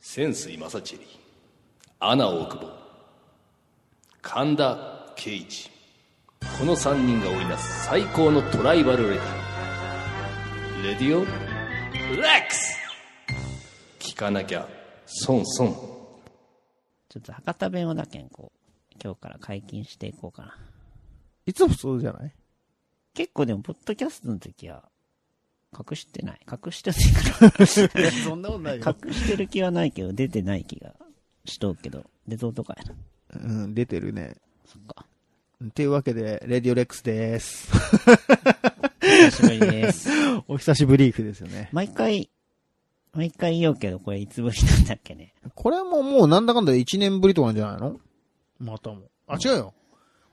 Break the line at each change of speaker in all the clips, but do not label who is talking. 泉水正知アナ大久保神田圭一この3人が織りなす最高のトライバルレディレディオレックス聞かなきゃ損損
ちょっと博多弁をだけん、こう、今日から解禁していこうかな。
いつもそうじゃない
結構でも、ポッドキャストの時は、隠して ない。隠してないか
そんなことない
ら。隠してる気はないけど、出てない気がしとうけど、出とうとかやな。
うん、出てるね。
そっか。
っていうわけで、レディオレックスです。
久しぶりです。
お久しぶりーくですよね。
毎回、毎回言おうけど、これいつぶりなんだっけね。
これももうなんだかんだ1年ぶりとかなんじゃないのまたも。あ、違うよ。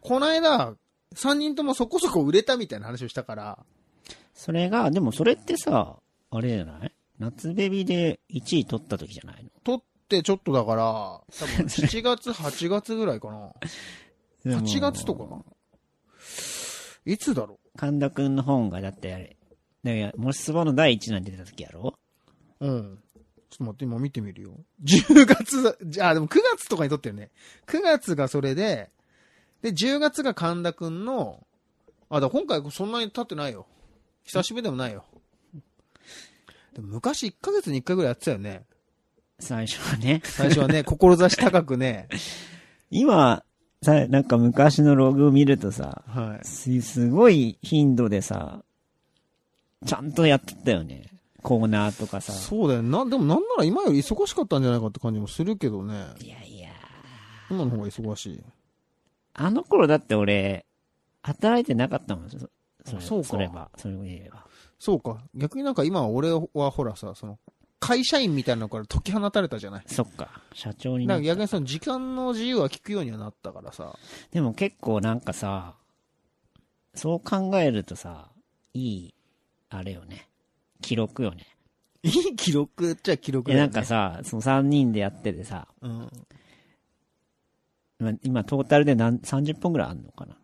こないだ、3人ともそこそこ売れたみたいな話をしたから、
それが、でもそれってさ、あれじゃない夏ベビで1位取った時じゃないの
撮ってちょっとだから、多 分7月、8月ぐらいかな。
でも
8月とかないつだろ
神田くんの本が、だってあれ、だから、もしそばの第一弾出てた時やろ
ううん。ちょっと待って、今見てみるよ。10月だ、じゃあでも9月とかに撮ってるね。9月がそれで、で、10月が神田くんの、あ、だから今回そんなに経ってないよ。久しぶりでもないよ。でも昔1ヶ月に1回ぐらいやってたよね。
最初はね。
最初は ね、志高くね。
今、さ、なんか昔のログを見るとさ、
はい。
す、すごい頻度でさ、ちゃんとやってたよね。コーナーとかさ。
そうだよ。な、でもなんなら今より忙しかったんじゃないかって感じもするけどね。
いやいや。
今の方が忙しい。
あの頃だって俺、働いてなかったもん。そそれ
そうか
それは、それを言えば。
そうか。逆になんか今は俺はほらさ、その、会社員みたいなのから解き放たれたじゃない。
そっか、社長に
な
なんっ
か
た
逆にその時間の自由は聞くようにはなったからさ。
でも結構なんかさ、そう考えるとさ、いい、あれよね。記録よね。
いい記録っちゃ記録
え、なんか、さ、その3人でやっててさ、
うん。
ま今トータルで何30本ぐらいあんのかな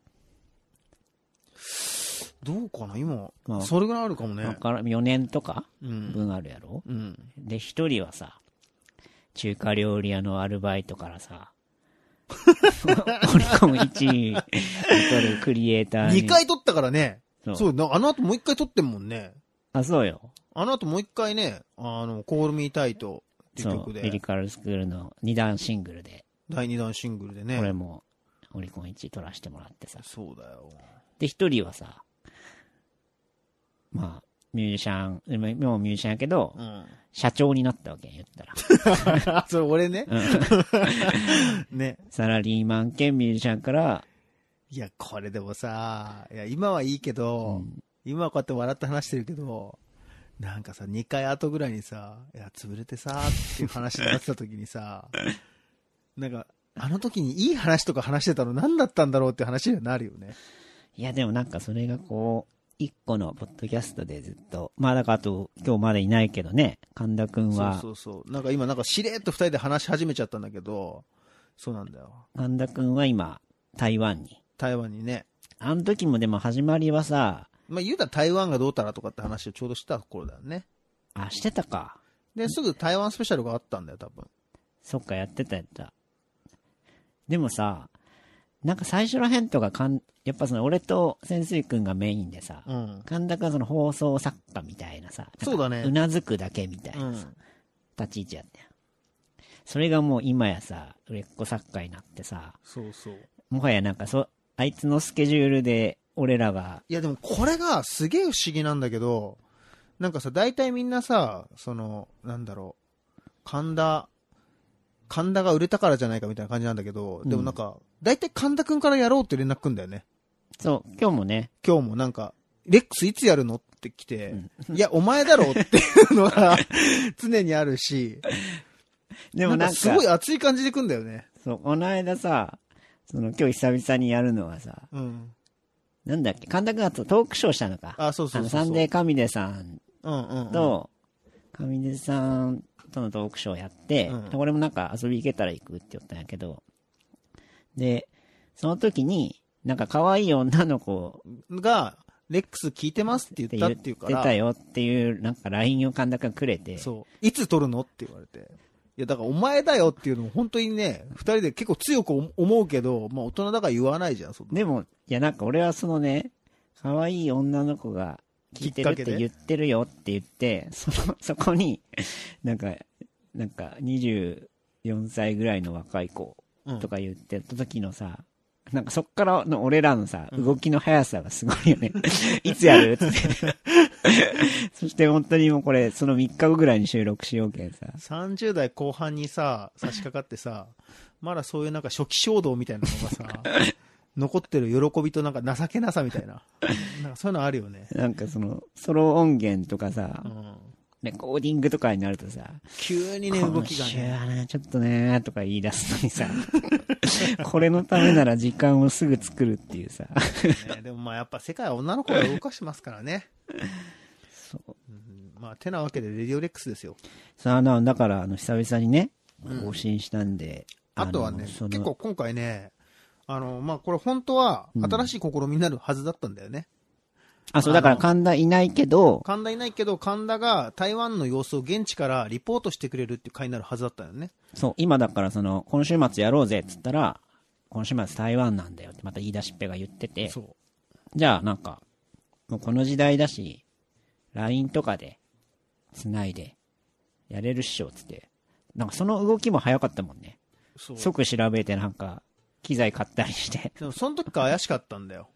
どうかな今、
まあ
それぐらいあるかも
わ
ね。
からん4年とか
うん。
分あるやろ、
うん。
で、1人はさ、中華料理屋のアルバイトから さ、オリコン1位を取るクリエイターに。
2回撮ったからね。
そう
そう、なあの後もう1回撮ってんもんね。
あ、そうよ。
あの後もう1回ね、あの、コールミータイトっていう
そ
曲
う。リリ
で、
カルスクールの2段シングルで、
第2弾シングルでね。
これもオリコン1位取らせてもらってさ。
そうだよ。
で、1人はさ、まあ、ミュージシャン、でももうミュージシャンやけど
う、ん。
社長になったわけ言ったら。
あ、それ俺ね。 ね。
サラリーマン兼ミュージシャンから、
いや、これでもさ、いや、今はいいけど、
うん
今はこうやって笑って話してるけど、なんかさ、2回後ぐらいにさ、いや、潰れてさ、っていう話になってた時にさ、なんか、あの時にいい話とか話してたの何だったんだろうって話にはなるよね。
いや、でもなんかそれがこう、一個のポッドキャストでずっと、まあだからあと、今日までいないけどね、神田くん
そう
は
そ、うそう。なんか今、なんかしれっと2人で話し始めちゃったんだけど、そうなんだよ。
神田くんは今、台湾に。
台湾にね。
あの時もでも始まりはさ、
まあ、言うたら台湾がどうたらとかって話をちょうどした頃だよね。
あ、してたか。
で、すぐ台湾スペシャルがあったんだよ、多分。
そっか、やってたやった。でもさ、なんか最初らへんとかかん、やっぱその俺と潜水くんがメインでさ、
うん。
神田くんはその放送作家みたいなさ、
そうだね
うなずくだけみたいな
う
さ、
ん。
立ち位置やったよ。それがもう今やさ、売れっ子作家になってさ、
そうそう。
もはやなんかそ、あいつのスケジュールで俺らが、
いやでもこれがすげえ不思議なんだけど、なんかさ、大体みんなさ、その、なんだろう、神田、神田が売れたからじゃないかみたいな感じなんだけど、
うん
でもなんか、大体神田くんからやろうって連絡くんだよね。
そう、今日もね、
今日もなんか、レックスいつやるのって来て、
う
いや、お前だろっていうの は常にあるし、
でもなんか、
すごい熱い感じでくんだよね。
そう、この間さ、その今日久々にやるのはさ、
うん。
なんだっけ、神田くんがトトークショーしたのか。
あ、そうそうそうそう。
あの、サンデー神出さん
うんうんうん。
と、神出さんとのトークショーやって、
うん
で俺もなんか遊び行けたら行くって言ったんやけど、で、その時に、なんか可愛い女の子
が、レックス聞いてますって
って
言った
言
っ
って
いうか
て
ら、
たよっていう、なんか LINE を神田くんくれて、
そう。いつ撮るのって言われて。や、だからお前だよっていうのも本当にね、二人で結構強く思うけど、まあ大人だから言わないじゃん、そんな
でも、いやなんか俺はそのね、可愛い女の子が聞いてるっ
きっかけ
て
で
言ってるよって言って、その、 そこに、なんか、なんか24歳ぐらいの若い子
うん
とか言ってた時のさ、なんかそっからの俺らのさ、動きの速さがすごいよね。 いつやるって。 そして本当にもうこれ、その3日後ぐらいに収録しようけんさ。
30代後半にさ、差し掛かってさ、 まだそういうなんか初期衝動みたいなの がさ、残ってる喜びとなんか情けなさみたいな。なんかそういうのあるよね。
なんかその、ソロ音源とかさ
う、ん。
レコーディングとかになるとさ、
急にね、動きが
今
ね。
週はね、ちょっとね、とか言い出すのにさ、 これのためなら時間をすぐ作るっていうさ、
ねでもまあやっぱ世界は女の子が動かしますからね。
そう。
うんまあてなわけで、レディオレックスですよ。
さあな、だから、あの、久々にね、更新したんで、
あ
の
とはね、
その
結構今回ね、あの、まあこれ本当は新しい試みになるはずだったんだよね。
あ、そう、だから
あの
神田いないけど、
神田いないけど、神田が台湾の様子を現地からリポートしてくれるっていう回になるはずだったよね。
そう、今だからその、今週末やろうぜっつったら、今週末台湾なんだよってまた言い出しっぺが言ってて、
そう。
じゃあなんか、もうこの時代だし、LINE とかで、繋いで、やれるっしょっつって。なんかその動きも早かったもんね。
そう
即調べてなんか、機材買ったりして。
でもその時から怪しかったんだよ。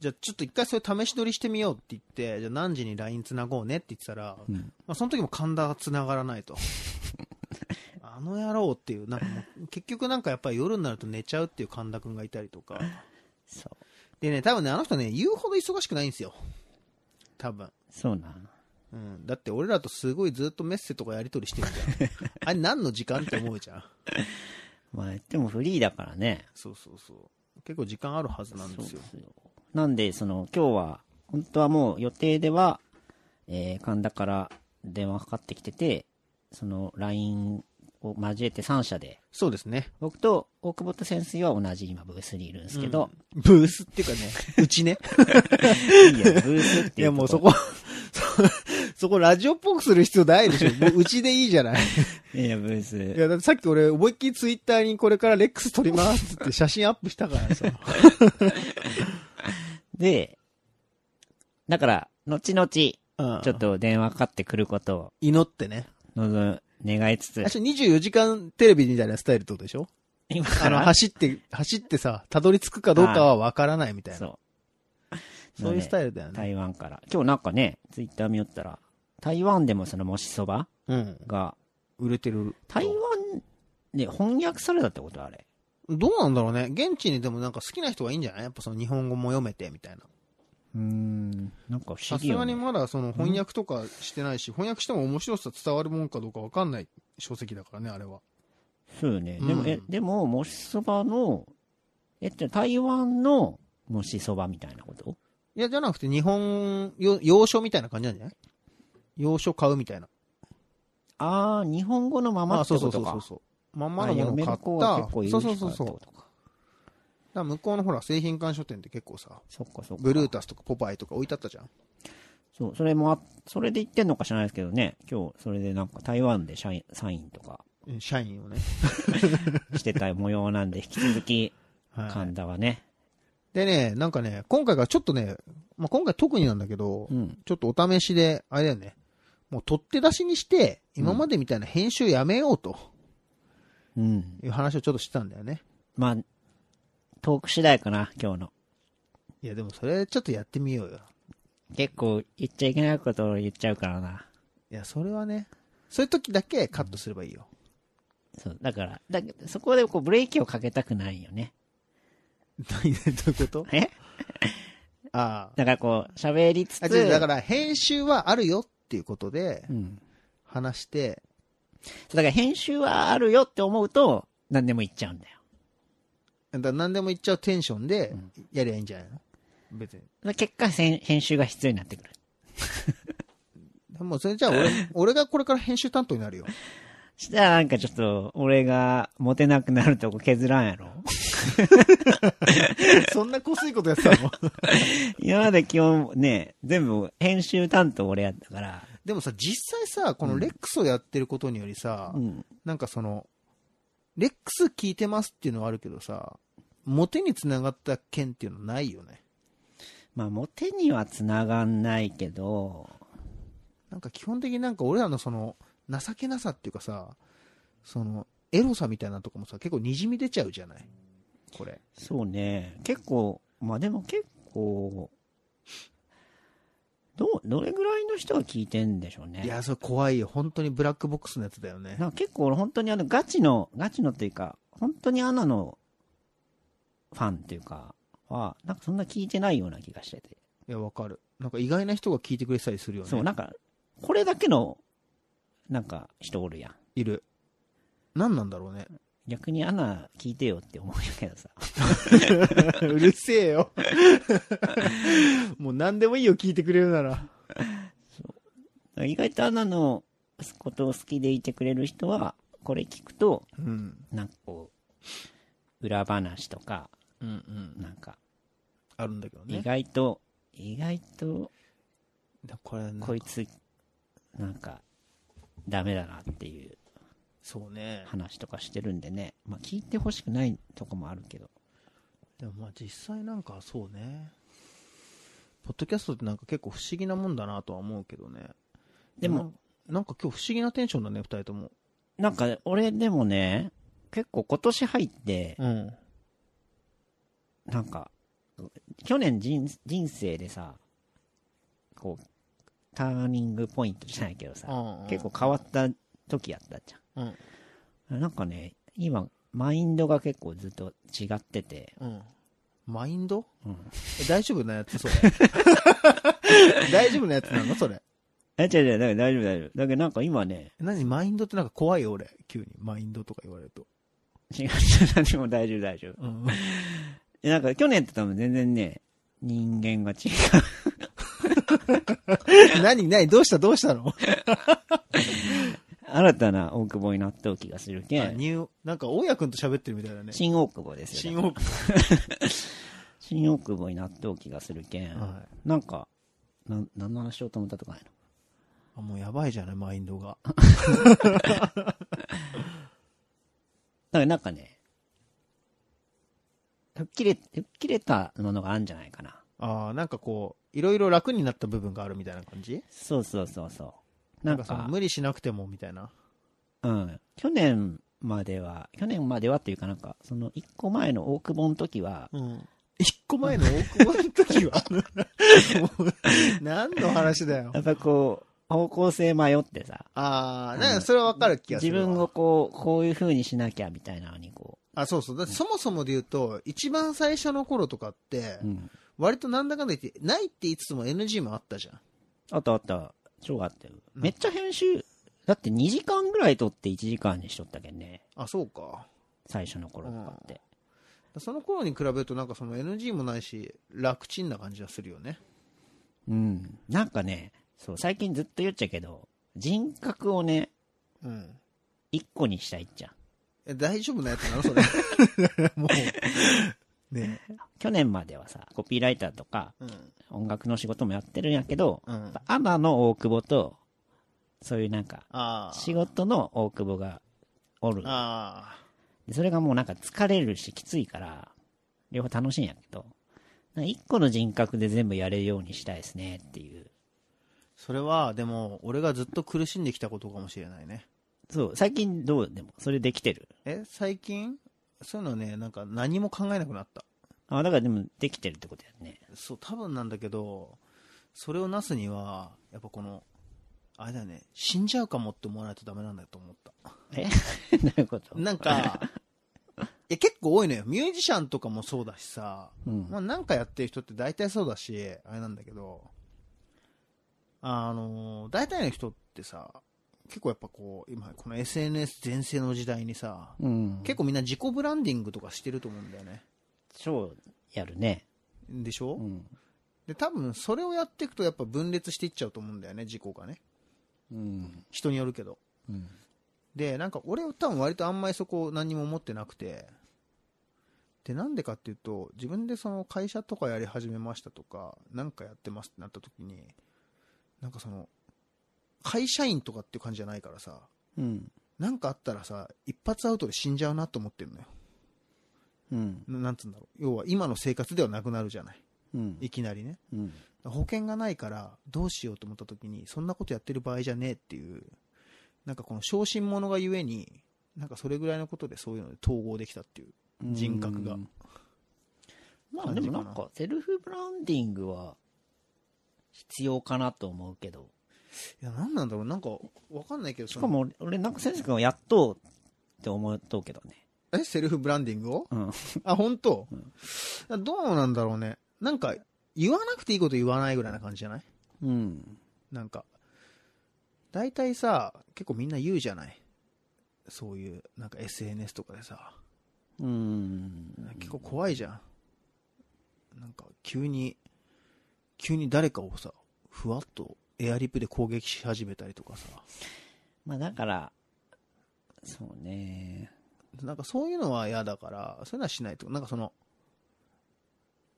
じゃあちょっと一回それ試し撮りしてみようって言って、じゃあ何時に LINE 繋ごうねって言ってたら、
ん
まあその時も神田が繋がらない と。あの野郎っていう、なんかもう結局なんかやっぱり夜になると寝ちゃうっていう神田くんがいたりとか。
そう。
でね、多分ね、あの人ね、言うほど忙しくないんですよ。多分。
そうなん。
うん。だって俺らとすごいずっとメッセとかやり取りしてる じゃん。あれ何の時間って思うじゃん。
まあ、でもフリーだからね。
そうそうそう。結構時間あるはずなんですよ。
そうですよなんで、その、今日は、本当はもう予定では、えー、神田から電話かかってきてて、その、LINE を交えて3社で、
そうですね。
僕と大久保と潜水は同じ今ブースにいるんですけど、
ブースっていうかね、う ちね。
いいよ、ブースって
い
いうとこ
やもうそこ、そそこラジオっぽくする必要ないでしょ。もううちでいいじ ゃない。
いやいや、ブー
い
ス。
や、だってさっき俺思いっきりツイッターにこれからレックス撮りますって写真アップしたか らさ。
で、だから、後々、ち
うん
ょっと電話かかってくることを
祈ってね。
望む、願いつつ
あ、れ24時間テレビみたいなスタイルってことでしょ
今
あ
か
の、
ら、
走って、走ってさ、たどり着くかどうかはわからないみたいな。
そ
そういうスタイルだよ
う、
ね。
台湾から。今日なんかね、ツイッター見よったら、台湾でもそのもしそば
うん。
が、
売れてる。
台湾で翻訳されたってことあれ。
どうなんだろうね。現地にでもなんか好きな人がいいんじゃないやっぱその日本語も読めてみたいな。
うーん、なんか不
さ
思議
す
よ、
がに
ね。
まだその翻訳とかしてないし、翻訳しても面白さ伝わるもんかどうかわかんない書籍だからね、あれは。
そうよね。でも、
うん
え、でも、もしそばの、えって台湾のもしそばみたいなこと
いや、じゃなくて日本、よ洋書みたいな感じなんじゃない洋書買うみたいな。
ああ、日本語のまま
あ、
って
そう
こ
そ
と
うそう
か。
そう
あ
そう。まんまのもの
読
を
め
買
る子は結構
っ
い
た。
る
そ
人
う
だ
そう
って
そうそう。
こ
だか
とか。
ら向こうのほら、製品館書店って結構さ、
そっかそっか。
ブルータスとかポパイとか置いてあったじゃん。
そう、それもあ、それで言ってんのか知らないですけどね。今日、それでなんか台湾で社員サインとか
うん社員をね。
してた模様なんで、引き続き、
はい
神田はね。
でね、なんかね、今回がちょっとね、まあ、今回特になんだけど、
うん。
ちょっとお試しで、あれだよね、もう取って出しにして、今までみたいな編集やめようと
うん。
いう話をちょっとしてたんだよね。
まあ、トーク次第かな、今日の。
いや、でもそれちょっとやってみようよ。
結構、言っちゃいけないことを言っちゃうからな。
いや、それはね、そういう時だけカットすればいいよ。
そう、だから、だそこでこう、ブレーキをかけたくないよね。
何どういうこと
え
ああ。
だからこう、喋りつ
あ
つ、
違うだから、編集はあるよっていうことで
う、ん。
話して、
そうだから編集はあるよって思うと、何でも言っちゃうんだよ。
だから何でも言っちゃうテンションで、やりゃいいんじゃないの別に。
だから結果、せん編集が必要になってくる。
もうそれじゃあ俺、俺がこれから編集担当になるよ。
したらなんかちょっと、俺がモテなくなるとこ削らんやろ。
そんなこすいことやってたの
今まで基本ね、全部編集担当俺やったから、
でもさ、実際さ、このレックスをやってることによりさ、
うん。
なんかその、レックス聞いてますっていうのはあるけどさ、モテにつながった件っていうのないよね。
まあ、モテには繋がんないけど、
なんか基本的になんか俺らのその、情けなさっていうかさ、その、エロさみたいなとこもさ、結構にじみ出ちゃうじゃないこれ。
そうね。結構、まあでも結構、どう、どれぐらいの人が聞いてんでしょうね。
いや、それ怖いよ。本当にブラックボックスのやつだよね。
なんか結構俺本当にあのガチの、ガチのっていうか、本当にアナのファンっていうか、は、なんかそんな聞いてないような気がしてて。
いや、わかる。なんか意外な人が聞いてくれてたりするよね。
そう、なんか、これだけの、なんか人おるやん。
いる。何なんだろう ね。
逆にアナ聞いてよって思うんやけどさ。
うるせえ よ。もう何でもいいよ、聞いてくれるなら。
意外とアナのことを好きでいてくれる人は、これ聞くと、
うん。
なんかこう、裏話とか、
うんうんう。
なんんか、
あるんだけど
意
ね。
外と、意外と、
これ
こいつ、なんか、ダメだなっていう
そうね。
話とかしてるんでね。まあ、聞いてほしくないとこもあるけど。
でもまあ実際なんかそうね。ポッドキャストってなんか結構不思議なもんだなとは思うけどね。
でも、
な、なんか今日不思議なテンションだね、二人とも。
なんか、俺でもね、結構今年入って、
うん。
なんか、去年人人生でさ、こう、ターニングポイントじゃないけどさ、結構変わった時やったじ
うん。うん
ゃん。なんかね、今、マインドが結構ずっと違ってて、
うん。マインド
うん
え大丈夫なやつそれ。 大丈夫なやつなのそれ。
え、違う違う、だから大丈夫大丈夫。だけどなんか今ね、
何マインドってなんか怖いよ、俺。急に。マインドとか言われると。
違う違う、何も大丈夫大丈夫。
うん。
えなんか去年と多分全然ね、人間が違
何何どうしたどうしたの
う。 新たな大久保になった気がするけ
あ
ん。
ニュー、なんか大家くんと喋ってるみたいだね。
新大久保ですよ、
新
ね。
大久
新大久保になった気がするけん。
保。はい。
なんか、なん、何の話しようと思ったとかないの
あ、もうやばいじゃない、マインドが。
だからなんかね、吹っ切れ、吹っ切れたものがあるんじゃないかな。
ああ、なんかこう、いろいろ楽になった部分があるみたいな感じ
そうそうそうそう。
な
なんん
か
か、
その無理しなくてもみたいな。
うん。去年までは、去年まではっていうかなんか、その一個前の大久保の時は、
うん。一個前 の大久保の時はもう 何の話だよ
や。っぱこう、方向性迷ってさ、
ああ、なんかそれはわかる気がす
自
るわ。
分をこう、こういう風にしなきゃみたいなのにこ
あ、そうそう。だってそもそもで言うと、一番最初の頃とかって
う、う、ん。
割となんだかんだ言って、ないって言いつつも NG もあったじゃん。
あったあった、超あったよ。
うん
めっちゃ編集、だって2時間ぐらい撮って1時間にしとったけんね、
あ、そうか。
最初の頃とかって。
その頃に比べるとなんかその NG もないし、楽ちんな感じがするよね。
うん。なんかね、そう、最近ずっと言っちゃうけど、人格をね、
うん。
一個にしたいっちゃ。
え、大丈夫なやつなのそれ。 もう。ね
去年まではさ、コピーライターとか、
うん。
音楽の仕事もやってるんやけど、
うん。
アナの大久保と、そういうなんか、
ああ。
仕事の大久保がおる。
あ
でそれがもうなんか疲れるしきついから、両方楽しいんやけど、なんか一個の人格で全部やれるようにしたいですねっていう。
あ。それは、でも、俺がずっと苦しんできたことかもしれないね。
そう、最近どうでも、それできてる。
え、最近そういうのね、なんか何も考えなくなった。
あ、だからでもできてるってことやね。
そう、多分なんだけど、それをなすには、やっぱこの、あれだよね、死んじゃうかもって思わないとダメなんだと思った。
え どういうこと
なんか、 いや結構多いのよ。ミュージシャンとかもそうだしさ、
うん
まあ、なんかやってる人って大体そうだし、あれなんだけど、あのー大体の人ってさ、結構やっぱこう、今、この SNS 全盛の時代にさ、
うん。
結
構、
構みんな自己ブランディングとかしてると思うんだよね。
超やるね。
でしょ、
うん。
で、多分それをやっていくとやっぱ分裂していっちゃうと思うんだよね、自己がね。
うん。
人によるけど。
うん。
で、なんか俺は多分割とあんまりそこ何も思ってなくて、で、なんでかっていうと、自分でその会社とかやり始めましたとか、なんかやってますってなった時に、なんかその、会社員とかっていう感じじゃないからさ、
うん。
なんかあったらさ、一発アウトで死んじゃうなと思ってるのよ。
うん。
ななんつうんだろう。要は今の生活ではなくなるじゃない。
うん。
いきなりね。
うん。
保険がないからどうしようと思った時にそんなことやってる場合じゃねえっていうなんかこの小心者がゆえになんかそれぐらいのことでそういうので統合できたっていう人格が
うんまあでもなんか、セルフブランディングは、必要かなと思うけど。
いや何なんだろうなんかわかんないけど
し
し
かも俺、俺なんか先生君はやっとうって思うとうけどね。
えセルフブランディングを
うん。
あ本当、どうなんだろうねなんか言わなくていいこと言わないぐらいな感じじゃない
うん。
なんか大体さ結構みんな言うじゃないそういうなんか SNS とかでさ
うん。
結構怖いじゃん。なんか、急に、急に誰かをさ、ふわっとエアリプで攻撃し始めたりとかさ、
まあだから、そうね。
なんかそういうのは嫌だから、そういうのはしないと。なんかその、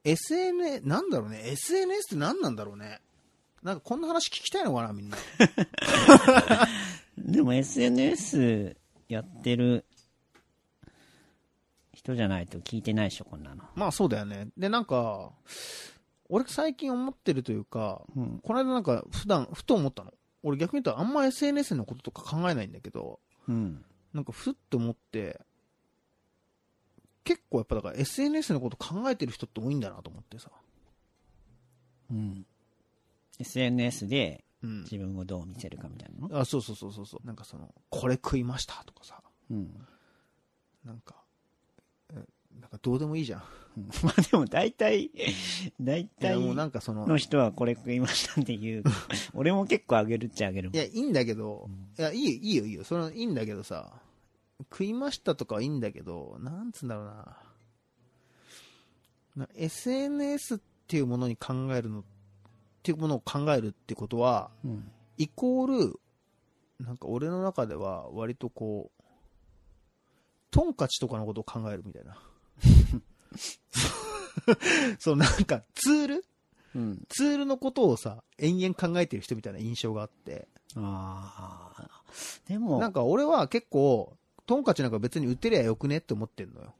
SNS、なんだろうね、SNS って何なんだろうね。なんかこんな話聞きたいのかな、みんな。
でも SNS やってる人じゃないと聞いてないでしょ、こんなの。
まあそうだよね。で、なんか、俺最近思ってるというか、
うん。
この間なんか普段、ふと思ったの。俺逆に言うとあんま SNS のこととか考えないんだけど、
うん。
なんかふっと思って、結構やっぱだから SNS のこと考えてる人って多いんだなと思ってさ。
うん。SNS で
うん。
自分をどう見せるかみたいなの
あ、そうそうそうそうそう。なんかその、これ食いましたとかさ。
うん。
なんか、えなんかどうでもいいじゃん。
まあでも大体、大
いや
体
もうなんかその、
の人はこれ食いましたって いう。俺も結構あげるっちゃあげる
い。や、いいんだけど、いや、いいよ、いいよ、いいよ。それはいいんだけどさ、食いましたとかはいいんだけど、なんつうんだろうな。な SNS っていうものに考えるの、っていうものを考えるってことは、
うん。
イコール、なんか俺の中では割とこう、トンカチとかのことを考えるみたい な。そう、なんかツール
うん。
ツールのことをさ、延々考えてる人みたいな印象があって。
ああ。でも、
なんか俺は結構、トンカチなんか別に売ってりゃよくねって思ってんのよ。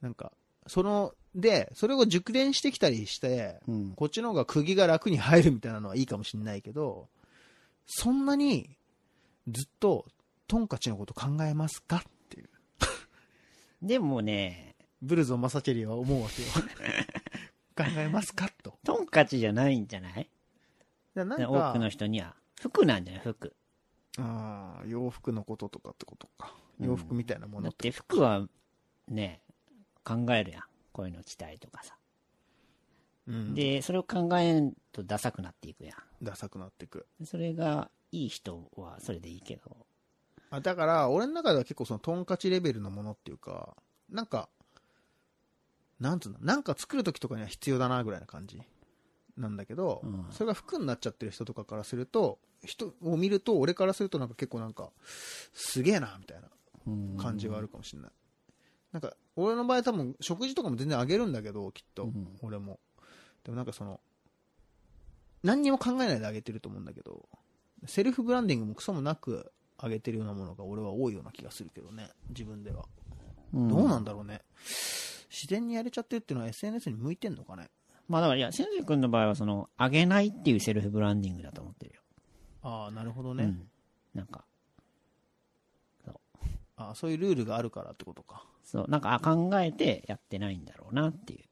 なんか、その、で、それを熟練してきたりして、
うん。
こっちの方が釘が楽に入るみたいなのはいいかもしんないけど、そんなにずっとトンカチのこと考えますかっていう。
でもね、
ブルゾン・マサチェリーは思うわけよ。 考えますかと。
トンカチじゃないんじゃない
だからな
多
んか
くの人には。服なんじゃない服。
あー洋服のこととかってことか。
うん
洋服みたいなも
だ
の
っ。て服は、ね、考えるやん。こういうの着たいとかさ。
うん、
で、それを考えんとダサくなっていくや
ダサくなってく。
ん。それが、いい人はそれでいいけど。
あだから、俺の中では結構そのトンカチレベルのものっていうか、なんか、なんつうの、なんか作るときとかには必要だなぐらいな感じなんだけど、
うん
それが服になっちゃってる人とかからすると、人を見ると、俺からするとなんか結構なんか、すげえな、みたいな感じはあるかもしれない。なんか、俺の場合多分、食事とかも全然あげるんだけど、きっと、
うん
俺も。でもなんかその、何にも考えないであげてると思うんだけど、セルフブランディングもクソもなく上げてるようなものが俺は多いような気がするけどね、自分では。
うん。
どう
う
なんんだろうね。自然にやれちゃってるっていうのは SNS に向いてんのかね。
まあだから、いや、先生君の場合は、その、あげないっていうセルフブランディングだと思ってるよ。
ああ、なるほどね。
うん。なんか、
ああ、そういうルールがあるからってことか。
そう、なんか、あ、考えてやってないんだろうなってい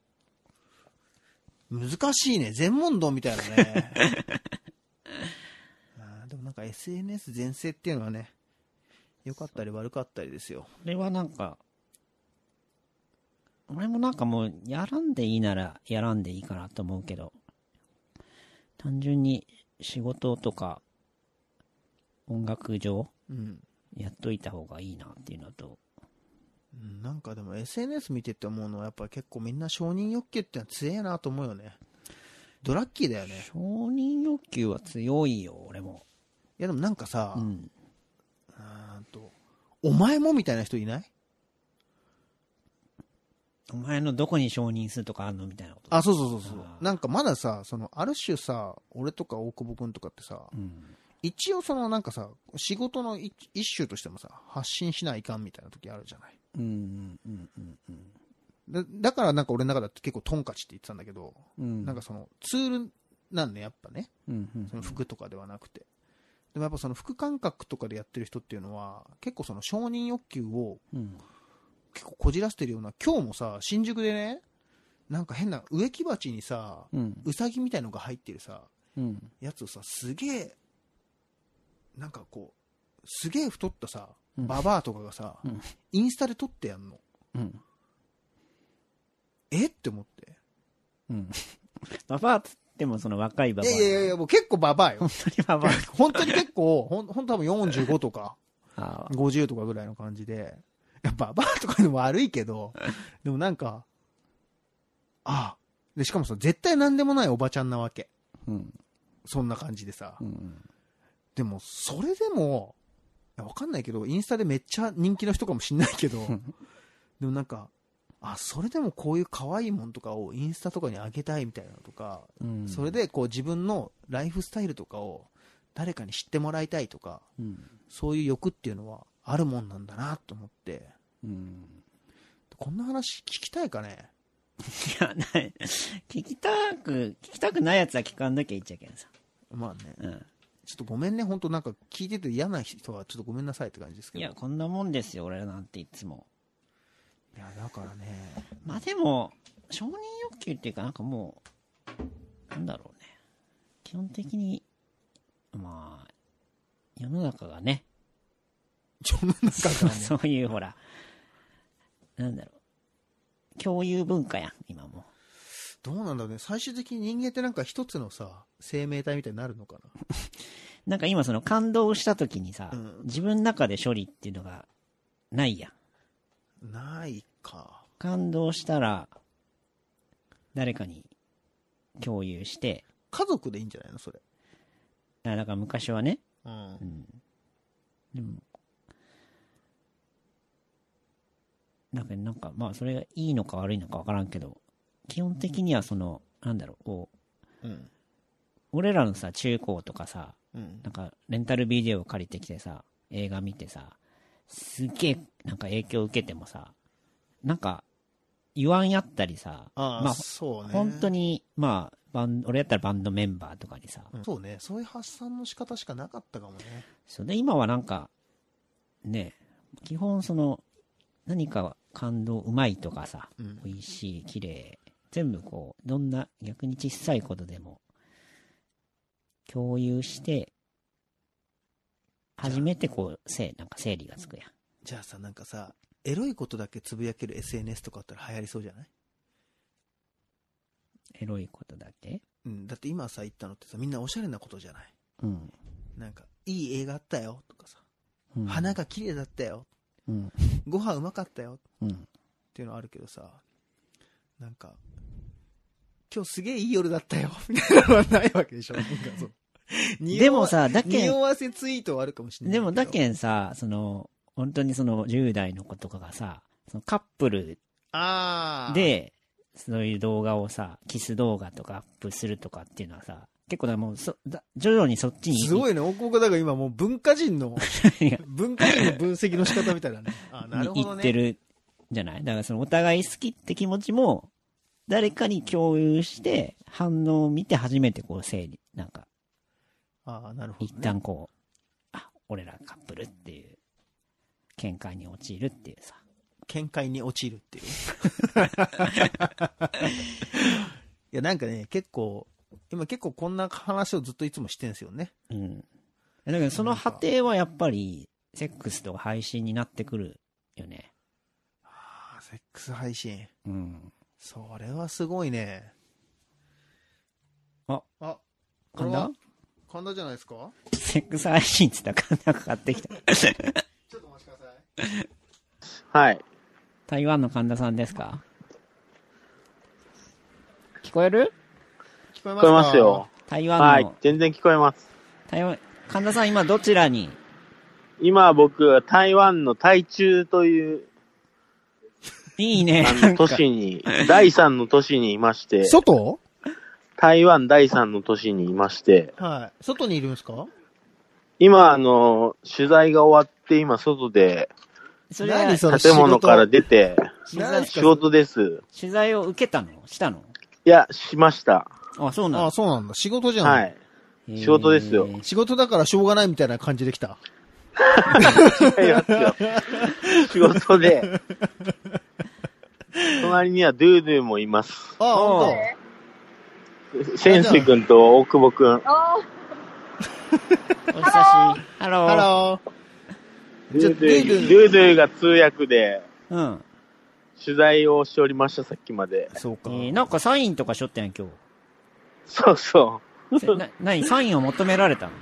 う。
難しいね。全問答みたいだ ね。ああでもなんか SNS 全盛っていうのはね、良かったり悪かったりですよ。
これはなんか、俺もなんかもう、やらんでいいなら、やらんでいいかなと思うけど、単純に仕事とか、音楽上、
うん。
やっといた方がいいなっていうのと、
うんなんかでも SNS 見てって思うのはやっぱ結構みんな承認欲求ってのは強えなと思うよね。ドラッキーだよね。
承認欲求は強いよ、俺も。
いやでもなんかさ、
うん。
うーんと、お前もみたいな人いない
お前のどこに承認するとかあんのみたいなこと。
あ、そうそうそうそう
あ。ー
なんかまださ、その、ある種さ、俺とか大久保くんとかってさ、
うん。
一応そのなんかさ、仕事の一一種としてもさ、発信しないかんみたいな時あるじゃない。
うんうんうんうん
だだからなんか俺の中だと結構トンカチって言ってたんだけど、
うん。
なんかそのツールなんでやっぱね、
うんうん
その服とかではなくて。でもやっぱその服感覚とかでやってる人っていうのは、結構その承認欲求を
うん
結構こじらせてるような、今日もさ、新宿でね、なんか変な植木鉢にさ、
うん
うさぎみたいのが入ってるさ、
うん
やつをさ、すげえ、なんかこう、すげえ太ったさ、
うん
ババアとかがさ、
うん
インスタで撮ってやんの。
うん
えって思って。
うん。ババアっつってもその若いバ
い
バア。
やいやいや、もう結構ババアよ
本。当にババア。
本当に結構、ほん、ほんと多分45とか、
あー
50とかぐらいの感じで、いや、ババアとかでも悪いけど、でもなんか、ああ。で、しかもさ、絶対何でもないおばちゃんなわけ。
うん
そんな感じでさ。
うん
でも、それでも、いやわかんないけど、インスタでめっちゃ人気の人かもしんないけど、 でもなんか、あ、それでもこういう可愛いもんとかをインスタとかにあげたいみたいなのとか、
うん
それでこう自分のライフスタイルとかを誰かに知ってもらいたいとか、
うん
そういう欲っていうのはあるもんなんだなと思って、
うん
こんな話聞きたいかね
いや、ない。聞きたく、聞きたくないやつは聞かんなきゃいっちゃけんさ。
まあね、
うん。
ちょっとごめんね、本当なんか聞いてて嫌な人はちょっとごめんなさいって感じですけ
い
ど。
や、こんなもんですよ、俺らなんていつも。
いやだからね、
まあでも、承認欲求っていうかなんかもう、なんだろうね。基本的に、まあ、世の中がね、
世の中
そ
が
う
ね、
そういうほら、なんだろう。共有文化やん、今も。
どうなんだろうね、最終的に人間ってなんか一つのさ、生命体みたいになるのかな。
なんか今その感動した時にさ、
うん
自分の中で処理っていうのがないやん。
ないか。
感動したら、誰かに共有して、
家族でいいんじゃないのそれ。
あだから昔はね、
うん
う。ん。でも、なんか、なんか、まあ、それがいいのか悪いのかわからんけど、基本的にはその、なんだろう、こう、
うん。
俺らのさ、中高とかさ、
うん
な。んか、レンタルビデオを借りてきてさ、映画見てさ、すげえ、なんか影響受けてもさ、なんか、言わんやったりさ、
ああ、
まあ
そうね。
本当に、まあ、バン俺やったらバンドメンバーとかにさ、
うんそうね。そういう発散の仕方しかなかったかもね。
それで今はなんか、ね、基本その、何か感動うまいとかさ、
うん
美味しい、綺麗、全部こう、どんな逆に小さいことでも、共有して、初めてこう、せい、なんか整理がつくやん。
じゃあさ、なんかさ、エロいことだけつぶやける SNS とかあったら流行りそうじゃない
エロいことだけ
うん。だって今さ、言ったのってさ、みんなおしゃれなことじゃない
うん。
なんか、いい映画あったよとかさ、
うん
花。が綺麗だったよ、
うん。
ご飯うまかったよっ
うん。
ていうのあるけどさ、なんか、今日すげえいい夜だったよ みたいなのはないわけでしょなんかそう
でも、さ、だけん
匂わ匂わせツイートはあるかもしれない
で
けど。
もだけんさ、その、本当にその10代の子とかがさ、そのカップル
ああ。、
で、そういう動画をさ、キス動画とかアップするとかっていうのはさ、結構だからもうそだ、徐々にそっちに。
すご
い。
いね。大久保だから今もう文化人の
いや、
文化人の分析の仕方みたいなね。 あなるほ
行
ど
っ
ね。
てるじゃないだからそのお互い好きって気持ちも、誰かに共有して、反応を見て初めてこう整理、なんか、
ああ、なるほ
一
ど、ね。
旦こう、あ、俺らカップルっていう、見解に陥るっていうさ。
見解に陥る っていう。いや、なんかね、結構、今結構こんな話をずっといつもしてんすよね。
うん。だけどその果てはやっぱり、セックスとか配信になってくるよね。
ああ、セックス配信。
うん。
それはすごいね。
あ、
あ、これ
神
は
田
神田じゃないですか
セックス配信って言ったら神田が買って きた。
ちょっとお待ちください。
はい。
台湾の神田さんですか聞こえる
聞こえ
聞
ます
こ
か
えますよ。。
台湾の、
はい。全然聞こえます。
台湾、神田さん今どちらに
今僕、台湾の台中という、
いいね。
あ
な
の、
んか
都市に、第三の都市にいまして、
外
台湾第三の都市にいまして、
はい。外にいるんですか
今、あの、取材が終わって、今、外で、
それは
何その仕事
建物から出て、
取材
何、
仕事です。
取材を受けたのしたの
いや、しました。
あ、そうな
あ
の
あ、そうなんだ。仕事じゃん。
はい。仕事ですよ
へー
仕事だからしょうがないみたいな感じできた。
違いますよ。仕事で。隣にはドゥードゥーもいます。
ああ、
おう
ほん
センスイ君と大久保君。
あ
お久しハ
と。
ロ
ハ
ー。
ロー。
ドゥードゥー、
じゃ
ド
あドゥードゥー
ゥードゥーが通訳で
うん。
取材をしておりました、さっきまで。
そう
え
か。
ー、なんかサインとかしょったやん、今
そうそ
日。せな、なに、サインを求められたの
う。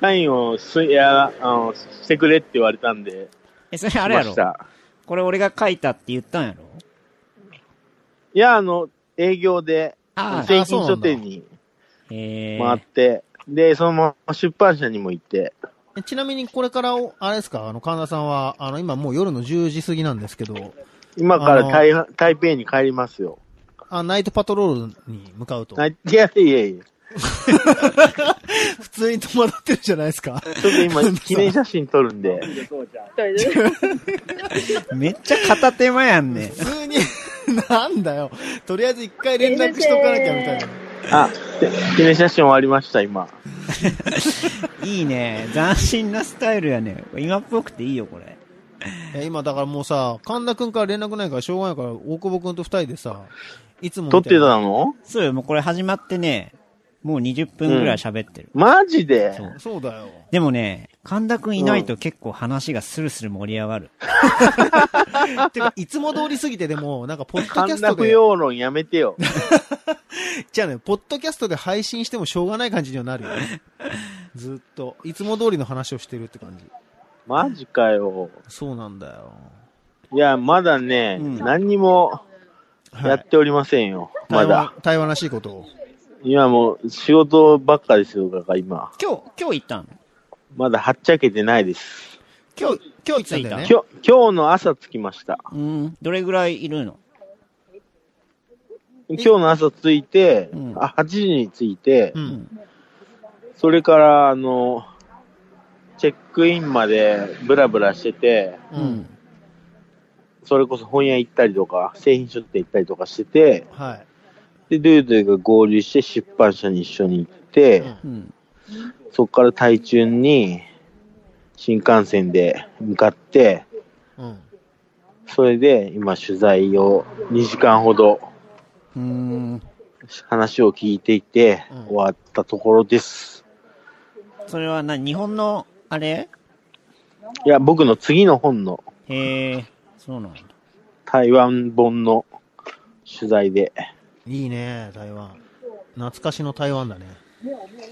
サインをす、いや、あの、してくれって言われたんで、
え、それあれや
し
ろ
ました。
これ俺が書いたって言ったんやろ
いや、あの、営業で、
ああ、
製品書店に
へえ
回って、で、そのまま出版社にも行って、
えちなみにこれからお、あれですか、あの、神田さんは、あの、今もう夜の10時過ぎなんですけど、
今から台台北に帰りますよ。
あナイトパトロールに向かうと。
ないいやいやいや。
普通に戸惑ってるじゃないですか。
ちょっと今、記念写真撮るんで。
あ、一人で。
めっちゃ片手間やんね。
普通に、 なんだよ。とりあえず一回連絡しとかなきゃみたいな。
あ、記念写真終わりました、今。
いいね。斬新なスタイルやね。今っぽくていいよ、これ。
え今だからもうさ、神田くんから連絡ないからしょうがないから、大久保くんと二人でさ、いつもみ
撮ってた
いな
の
そうよ、もうこれ始まってね、もう20分ぐらい喋ってる。
マジで
そう
そうだよ。
でもね、神田くんいないと結構話がスルスル盛り上がる。
て か、いつも通りすぎてでも、なんか、ポッドキャ
神
ス
田
ト
不
で、
要論やめてよ。
じゃあね、ポッドキャストで配信してもしょうがない感じにはなるよ ね。ずっと、いつも通りの話をしてるって感じ。
マジかよ。
そうなんだよ。
いや、まだね、
うん
何にもやっておりませんよ。まだ。
台湾。台湾らしいことを。
今もう仕事ばっかですよ、だから今。
今日、今日行ったの
まだはっちゃけてないです。
今日、今日行ったんだよね。
今日、今日の朝着きました。
うん。どれぐらいいるの
今日の朝着いて、
うん
あ8時に着いて、
うん。
それから、あの、チェックインまでブラブラしてて、
う。。
うん
それこそ本屋行ったりとか、製品所店行ったりとかしてて、
はい。
で、ドゥードゥーが合流して出版社に一緒に行って、
うん
うん。
そこから台中に新幹線で向かって、
うん。
それで今取材を2時間ほど
うーん。
話を聞いていて、
うん
終わったところです。
それはな、日本の、あれ
いや、僕の次の本の
へえ、そうなんだ。
台湾本の取材で、
いいね、台湾。懐かしの台湾だね。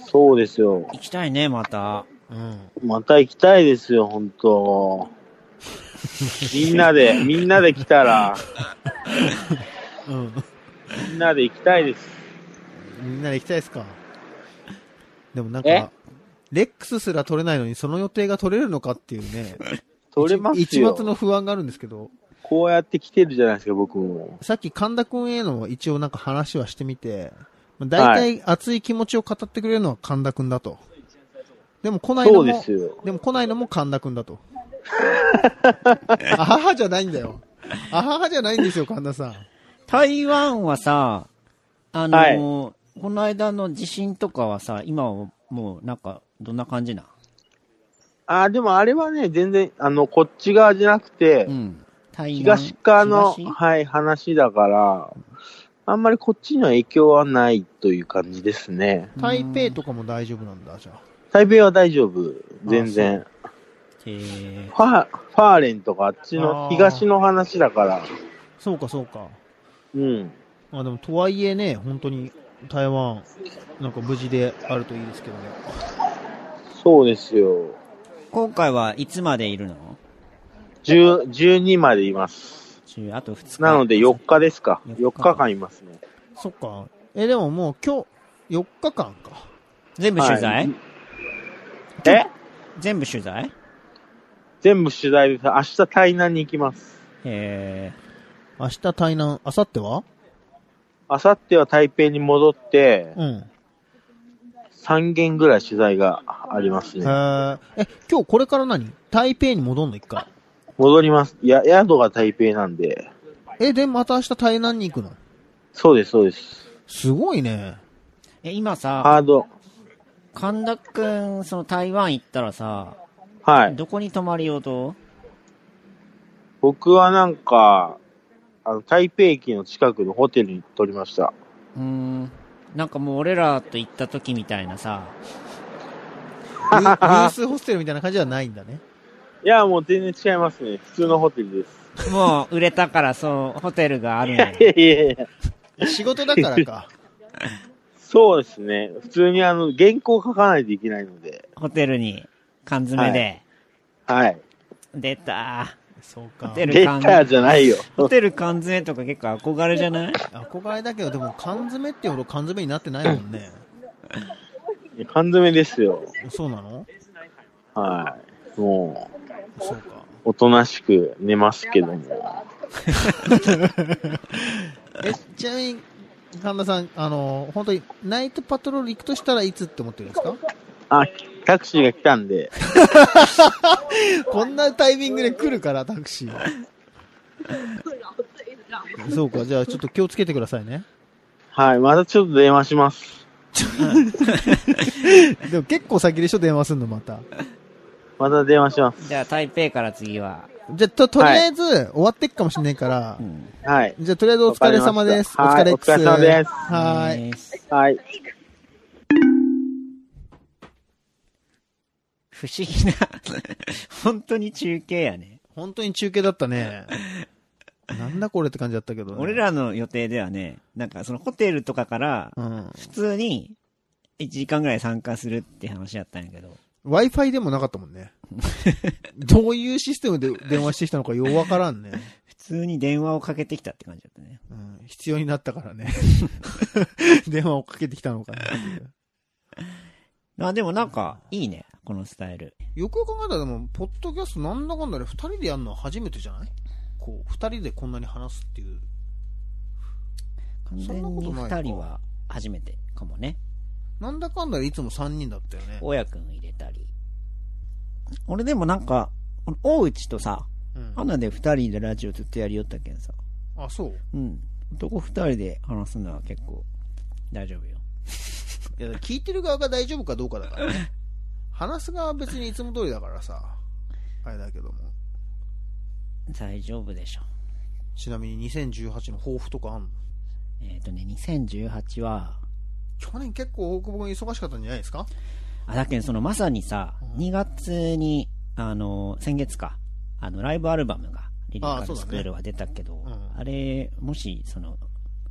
そうですよ。
行きたいね、また。
うん。
また行きたいですよ、本 当みんなで、みんなで来たら、
うん。
みんなで行きたいです。
みんなで行きたいですか。でもなん
え
か、レックスすら取れないのに、その予定が取れるのかっていうね。
取れますよ。
一一末の不安があるんですけど、
こうやって来てるじゃないですか、僕も。
さっき神田くんへの一応なんか話はしてみて、まあ大体熱い気持ちを語ってくれるのは神田くんだと。でも来ない
そ
の
うで
も
す、よ。
でも来ないのも神田くんだ と。あははじゃないんだよ。あははじゃないんですよ、神田さん。
台湾はさ、あの
は
この間の地震とかはさ、今はもうなんか、どんな感じなん
あーでもあれはね、全然、あの、こっち側じゃなくて
う、ん。台湾
東側の、
東
はい、話だから、あんまりこっちには影響はないという感じですね。
台北とかも大丈夫なんだ、じゃあ。
台北は大丈夫、全然。
えー
ファー、ファーレンとかあっち
あ
の
ー
東の話だから、
そうか、そうか。
うん。
まあでも、とはいえね、本当に台湾、なんか無事であるといいですけどね。
そうですよ。
今回はいつまでいるの
10 12までいます。
中あと2日。
なので4日ですか。
4日
4日
間
間いますね。
そっか。え、でももう今日、4日間か。
全部取材、
はいえ
全部取材
全部取材です。明日台南に行きます。
え
明日台南、明後日は
明後日は台北に戻って、
うん。
3件ぐらい取材があります
え
ね。
ー、え、今日これから何台北に戻んの一回。
戻ります。いや、宿が台北なんで。
え、で、また明日台南に行くの
そうです、そうです。
すごいね。
え、今さ、
ハード。
神田くん、その台湾行ったらさ、
はい。
どこに泊まりようと
僕はなんか、あの、台北駅の近くのホテルに取りました。
うーん。なんかもう俺らと行った時みたいなさ、
ユユースホステルみたいな感じじゃないんだね。
いや、もう全然違いますね。普通のホテルです。
もう売れたからそのホテルがあるんだよ
いやいやいや、
仕事だからか。
そうですね。普通にあの、原稿書かないといけないので。
ホテルに缶詰で。
はい。
出た
そう
ホ
か。
テル
デ
缶
ータ
詰。
じゃないよ。
ホテル缶詰とか結構憧れじゃない
憧れだけど、でも缶詰ってほど缶詰になってないもんね。
缶詰ですよ。
そうなの
はい。もう、
そうか。
おとなしく寝ますけども。
え、ちなみに、神田さん、あの、本当に、ナイトパトロール行くとしたらいつって思ってるんですか
あ、タクシーが来たんで、
こんなタイミングで来るから、タクシー。そうか、じゃあちょっと気をつけてくださいね。
はい。またちょっと電話します。
でも結構先でしょ、電話すんの、また。
また電話します。
じゃあ台北から次は。
じゃあ、と、とりあえず、終わってっかもしんないから、
うん。
はい。
じゃあ、とりあえずお疲れ様です。お
わか
疲
り
れ
ま
っ
した
す。
はいお疲れ様です
はーい。
い。
はい。
不思議な、 本当に中継やね。
本当に中継だったね。なんだこれって感じだったけど、ね。
俺。らの予定ではね、なんかそのホテルとかから、
うん。
普通に1時間ぐらい参加するって話やったんやけど、
Wi-Fi でもなかったもん ね。どういうシステムで電話してきたのかようわからんね。
普通に電話をかけてきたって感じだったね。
うん、必要になったから ね。電話をかけてきたのかなっていう。
あ、でもなんか、いいね、このスタイル。
よくよく考えたらでも、ポッドキャストなんだかんだで二人でやるのは初めてじゃないこう、二人でこんなに話すっていう。
完
そん
全
なこと
に
ないか
2人は初めてかもね。
なんだかんだでいつも三人だったよね。
親くん入れたり。俺でもなんか、この大内とさ、
うん、
花で2人でラジオずっとやりよったけんさ。
あ、そう。
うん。男2人で話すのは結構大丈夫よ。
いや、聞いてる側が大丈夫かどうかだからね。話す側は別にいつも通りだからさ。あれだけども。
大丈夫でしょ。
ちなみに2018の抱負とかあんの
えっ、とね、2018は、
去年結構大久保君忙しかったんじゃないですか
あ、だけどそのまさにさ、
うん
2月に、あの、先月か、あの、ライブアルバムが、リリ
あ
カ
そう
ル
だね
スクールは出たけど、あ,、
うん
れ、もし、その、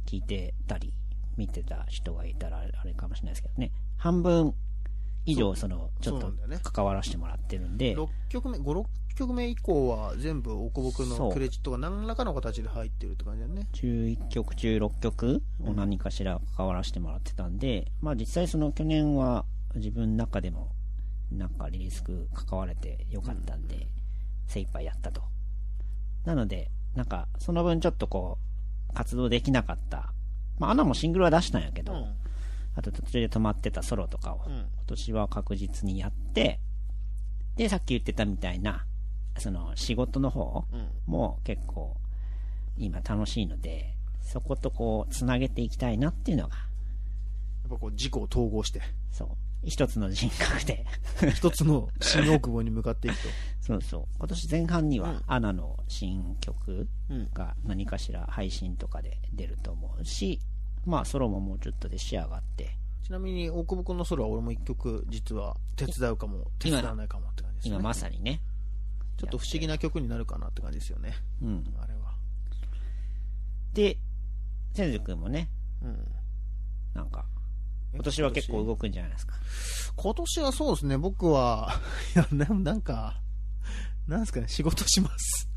聞いてたり、見てた人がいたら、あれかもしれないですけどね、半分以上、その、ちょっ
そう
と
なんだよね、
関わらせてもらってるんで、
6曲目、5、6曲目以降は全部大久保君
そ
の
う
クレジットが何らかの形で入ってるって感じだよね。
11曲中6曲を何かしら関わらせてもらってたんで、まあ実際その去年は自分の中でもなんかリリースク関われてよかったんで、精一杯やったと。なので、なんかその分ちょっとこう、活動できなかった。まあアナもシングルは出したんやけ
う
ど、
ん。
あと途中で止まってたソロとかを
う
今
ん。
年は確実にやって、で、さっき言ってたみたいな、その仕事の方
うん。
も結構今楽しいので、そことこう、つなげていきたいなっていうのが、
やっぱこう、自己を統合して、
そう、一つの人格で。
一つの新大久保に向かっていくと。
そうそう。今年前半に
うん
は、アナの新曲
うん。
が何かしら配信とかで出ると思うし、まあ、ソロももうちょっとで仕上がって、
ちなみに、大久保君のソロは俺も一曲、実は手伝うかも、手伝わないかもって感じですね。
今まさにね。
ちょっと不思議な曲になるかなって感じですよね。
うん。
あれは。
で、千住くんもね、
うん。
なんか、今年は結構動くんじゃないですか。
今年はそうですね、僕は、 いや、ななんか、なんですかね、仕事します。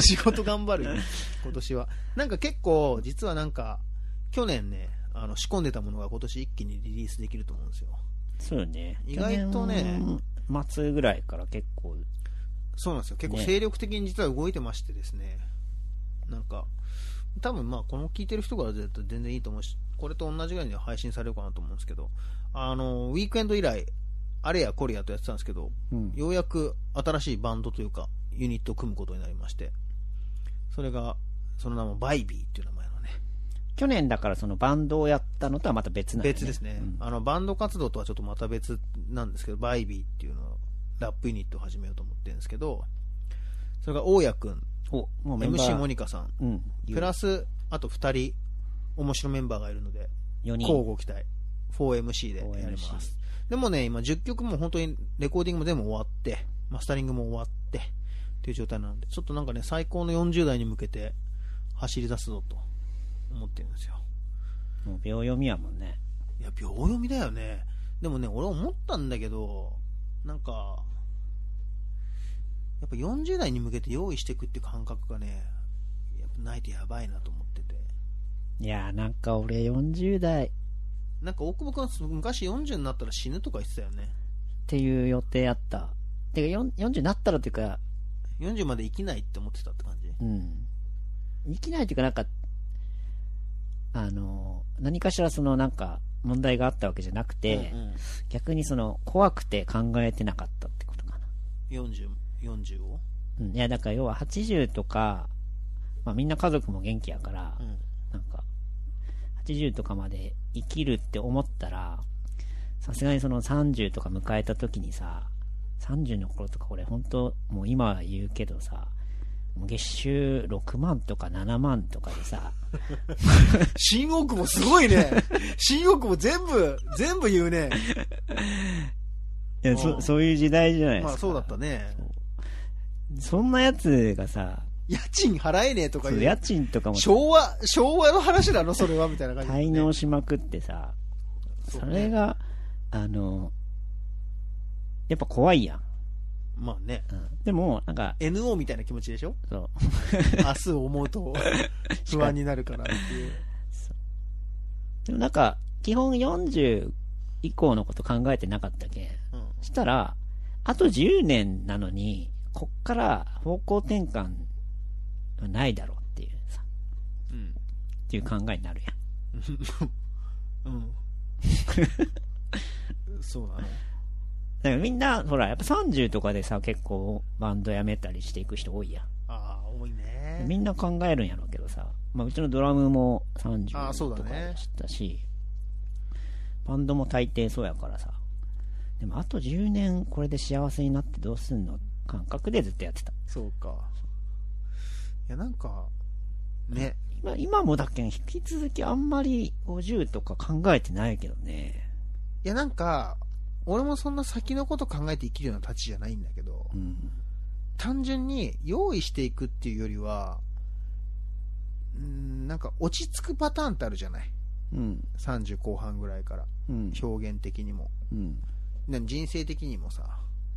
仕事頑張る、今年は。なんか結構、実はなんか、去年ね、あの仕込んでたものが今年一気にリリースできると思うんですよ。
そうよね。
意外とね
去年末ぐらいから結構
そうなんですよ。結構
ね
精力的に実は動いてましてですね。なんか、多分まあ、この聞いてる人からだと全然いいと思うしこれと同じぐらいに配信されるかなと思うんですけど、あの、ウィークエンド以来、あれやこれやとやってたんですけど、
うん。
ようやく新しいバンドというか、ユニットを組むことになりまして、それが、その名もバイビーっていう名前のね、
去年だからそのバンドをやったのとはまた別なんだよ
別ですね、あのバンド活動とはちょっとまた別なんですけど、バイビーっていうのを、ラップユニットを始めようと思ってるんですけど、それが大谷くん、
お、もうメンバー。
MC モニカさん、
うん。
プラス、あと2人、面白メンバーがいるので、
4人。
交互期待、4MC でやります。でもね、今10曲も本当にレコーディングも全部終わって、マスタリングも終わって、っていう状態なので、ちょっとなんかね、最高の40代に向けて走り出すぞと思ってるんですよ。
もう秒読みやもんね。
いや、秒読みだよね。でもね、俺思ったんだけど、なんか、やっぱ40代に向けて用意していくっていう感覚がね、やっぱないとやばいなと思ってて。
いやーなんか俺40代っ
なんか大久保君、昔40になったら死ぬとか言ってたよね。
ていう予定あった。てかよん40になったらっていうか、
40まで生きないって思ってたって感じ。
うん。生きないというかなんか、あのー、何かしらそのなんか問題があったわけじゃなくて、
うん
逆にその怖くて考えてなかったってことかな。
うん、40, 40を、
うん。いやだから要は80とか、まあみんな家族も元気やから、
うん、
なんか、80とかまで生きるって思ったら、さすがにその30とか迎えた時にさ、30の頃とか俺本当もう今は言うけどさ、もう月収6万とか7万とかでさ、
新大久保すごいね新大久保全部、全部言うね。
いや、
う
そ、
ん
そういう時代じゃないですか。
まあそうだったね。
そんなやつがさ、
家賃払えねえとか
そ
言
う
う。
家賃とかも
昭和、昭和の話なのそれはみたいな感じ、
滞納しまくってさ、それ
が。
が、あの、やっぱ怖いやん。
まあね。
うんでも、なんか、
NO みたいな気持ちでしょ
そう、
明日を思うと不安になるからっていう。
でもなんか、基本40以降のこと考えてなかったけん。
うん
したら、あと10年なのに、こっから方向転換はないだろうっていうさ、
うん。
っていう考えになるやん。
うん。そうなの。
だからみんな、ほら、やっぱ30とかでさ、結構バンド辞めたりしていく人多いや
ああ、多い
ん。
ね。
みんな考えるんやろうけどさ、まあうちのドラムも
あーそ
30
う
と
だ
か
ね
でしたし、バンドも大抵そうやからさ、でもあと10年これで幸せになってどうすんの感覚でずっとやってた。
そうか。いや、なんか、ね。
今今もだけん引き続きあんまり50とか考えてないけどね。
いや、なんか、俺もそんな先のこと考えて生きるようなたちじゃないんだけど、
うん。
単純に用意していくっていうよりは、うーん、なんか落ち着くパターンってあるじゃない。
うん。
30後半ぐらいから。
うん。
表現的にも。
うん。
な人生的にもさ、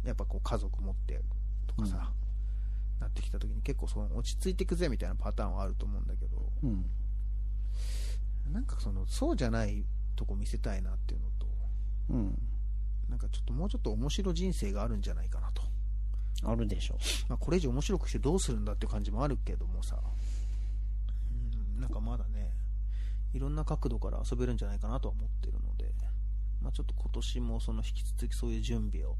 やっぱこう家族持ってとかさ、なってきた時に結構その落ち着いていくぜみたいなパターンはあると思うんだけど、
うん。
なんかその、そうじゃないとこ見せたいなっていうのと、
うん。
なんかちょっともうちょっと面白い人生があるんじゃないかなと。
あるでしょ。
まあ、これ以上面白くしてどうするんだっていう感じもあるけどもさ、うん、なんかまだね、いろんな角度から遊べるんじゃないかなとは思ってるので、まあ、ちょっと今年もその引き続きそういう準備を。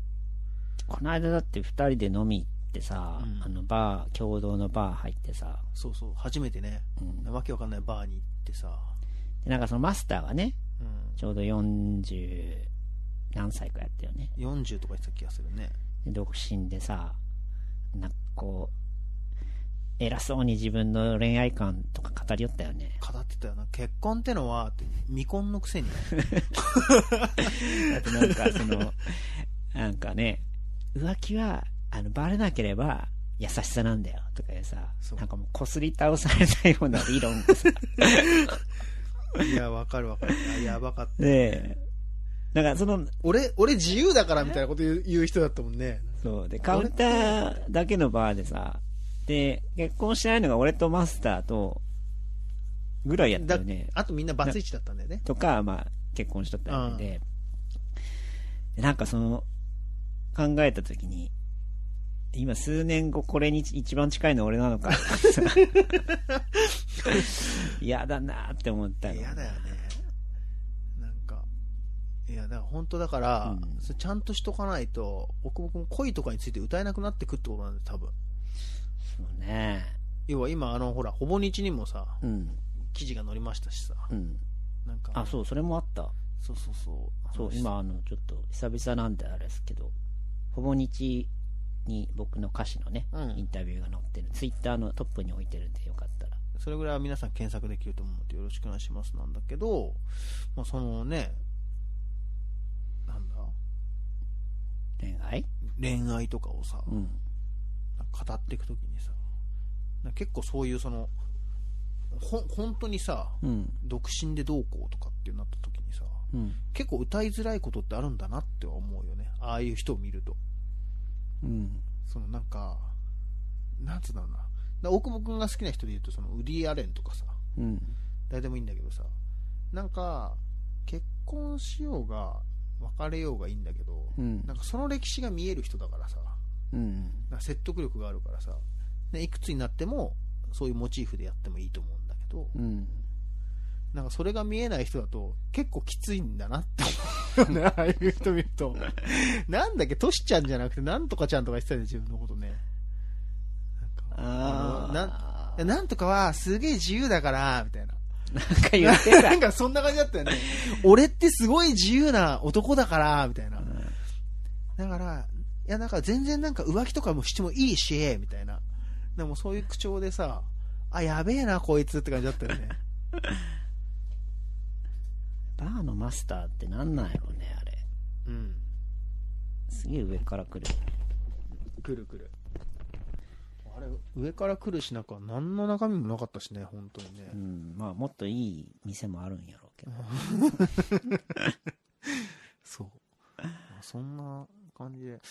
この間だって二人で飲み行ってさ、
うん
あのバー、共同のバー入ってさ、
そうそう、初めてね、
うん
わけわかんないバーに行ってさ、
でなんかそのマスターがね、
うん、
ちょうど40何歳かやったよね。
40とか言ってた気がするね。
で独身でさ、なんかこう、偉そうに自分の恋愛観とか語りよったよね。
語ってたよな、結婚ってのは、って未婚のくせに。
あとなんかその、 なんかね、浮気は、あの、バレなければ、優しさなんだよ、とかいうさ
そ、う
なんかもう、こすり倒されたような理論を さ、
いや、わかるわかる。あやばかった。
で、なんかその、
俺、俺自由だからみたいなこと言う言う人だったもんね。
そう、で、カウンターだけのバーでさ、で、結婚してないのが俺とマスターと、ぐらいやった
だ
よね。
あとみんなバツイチだったんだよね。
とか、まあ、結婚しとったわけで、でなんかその、考えたときに、今数年後これに一番近いの俺なのかってさ、嫌だなって思ったの
嫌だよね。いや、だから本当だから、
うん
それちゃんとしとかないと、僕も恋とかについて歌えなくなってくってことなんです、多分。
そうね。
要は今、あの、ほら、ほぼ日にもさ、
うん。
記事が載りましたしさ、
うん。
なんか。
あ、そう、それもあった。
そうそうそう。
そう、今、あの、ちょっと、久々なんであれですけど、ほぼ日に僕の歌詞のね、
うん
インタビューが載ってる。ツイッターのトップに置いてるんで、よかったら。
それぐらいは皆さん検索できると思うんでよろしくお願いしますなんだけど、まあ、そのね、なんだ、
恋愛
恋愛とかをさ、
うん。
語っていくときにさ、なんか結構そういうその、ほん、本当にさ、
うん。
独身でどうこうとかってなったときにさ、
うん。
結構歌いづらいことってあるんだなっては思うよね。ああいう人を見ると。
うん。
そのなんか、なんつうんだろうな。だから大久保くんが好きな人で言うと、そのウディ・アレンとかさ、
うん。
誰でもいいんだけどさなんか結婚しようが別れようがいいんだけど、
うん
なんかその歴史が見える人だからさ
うん。
なんか説得力があるからさでいくつになってもそういうモチーフでやってもいいと思うんだけど、
うん。
なんかそれが見えない人だと結構きついんだなって思うよねああいう人見るとなんだっけトシちゃんじゃなくてなんとかちゃんとか言ってたよね自分のことねなんか
あ
の
あ。
なんなんとかはすげえ自由だからみたいな
なんか言ってた
な。んかそんな感じだったよね。 俺ってすごい自由な男だから、みたいな。だから、いや、だから全然なんか浮気とかもしてもいいし、みたいな。でもそういう口調でさ、あ、やべえな、こいつって感じだったよね。
バーのマスターってなんなんやろね、あれ。
うん。
すげえ上から来る。
くるくる。あれ、上から来るしなんか何の中身もなかったしね、本当にね。
うん。まあ、もっといい店もあるんやろうけど。
そう。そんな感じで。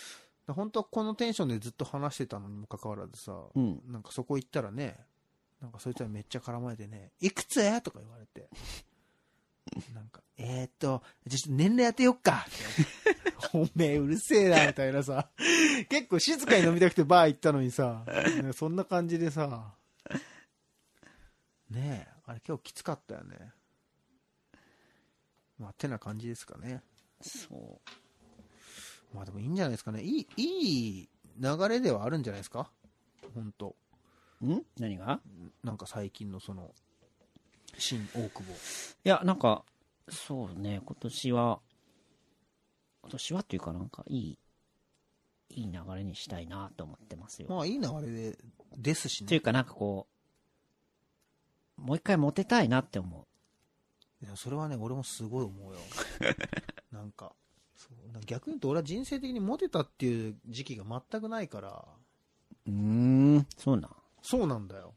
だ本当はこのテンションでずっと話してたのにもかかわらずさ、
うん。
なんかそこ行ったらね、なんかそいつらめっちゃ絡まれてね、いくつとか言われて。なんか、えー、っと、じゃあちょっと年齢当てよっかっておめえうるせえな、みたいなさ。結構静かに飲みたくてバー行ったのにさ、ねそんな感じでさ。ねえ、あれ今日きつかったよね。まあ、てな感じですかね。
そ
まあでもいいんじゃないですかね。いい、いい流れではあるんじゃないですか本当
う。ん何が
なんか最近のその、新大久保。
いや、なんか、そうね、今年は、今年はっていうかなんか、いい、いい流れにしたいなと思ってますよ。
まあいい流れで、ですし
とい
ね
う。かなんかこう、もう一回モテたいなって思う。
いやそれはね、俺もすごい思うよ。なんか、そうなんか逆に言うと俺は人生的にモテたっていう時期が全くないから、
うーん、そうなん。
そうなんだよ。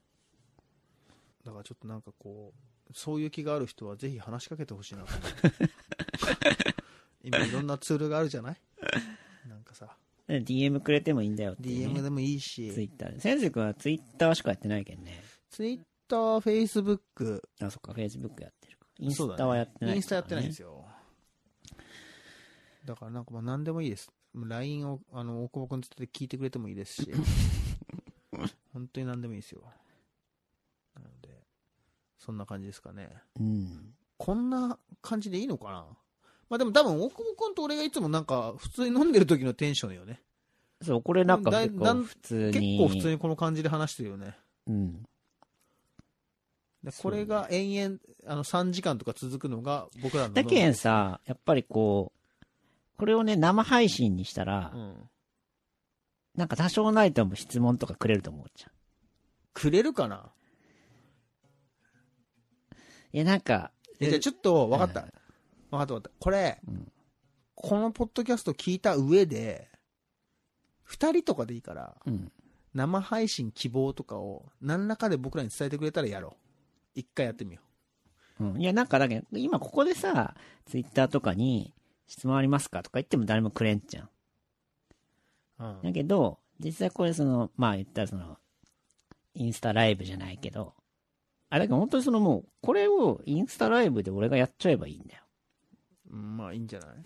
だからちょっとなんかこう、そういう気がある人はぜひ話しかけてほしいなと思う今いろんなツールがあるじゃないなんかさ、
で DM くれてもいいんだよって、ね。
DM でもいいし、
ツイッターで。先生君はツイッターしかやってないけどね。
ツイッター、フェイスブック、
あ、そっか、Facebook やってるか。イン
そう
ス
だ
タ
ね
はやってない、
インスタやってないんです
よ。
よ。だからなんかまあ何でもいいです。もう LINE を、あの、大久保くんつって聞いてくれてもいいです し、本当に何でもいいですよ。なので、そんな感じですかね。
うん。
こんな感じでいいのかなまあでも多分大久保くんと俺がいつもなんか普通に飲んでる時のテンションよね。
そう、これなんか
だい
結
だ
構
ん
普通
結
に。
構普通にこの感じで話してるよね。
うん。
で
そ
こ
うね
れが延々、あの3時間とか続くのが僕らの。
だけんさ、やっぱりこう、これをね、生配信にしたら、
うん。
なんか多少ないとも質問とかくれると思うじゃん。
くれるかない
や、なんか、
えじゃあちょっと、分かった。分かった分かった。これ、
うん
このポッドキャスト聞いた上で、二人とかでいいから、
うん。
生配信希望とかを何らかで僕らに伝えてくれたらやろう。一回やってみよ
うん。いや、なんかだけど、今ここでさ、ツイッターとかに、質問ありますかとか言っても誰もくれんじゃん。
う。うん
だけど、実際これその、まあ言ったらその、インスタライブじゃないけど、あ、だから本当にそのもう、これをインスタライブで俺がやっちゃえばいいんだよ。
うんまあいいんじゃない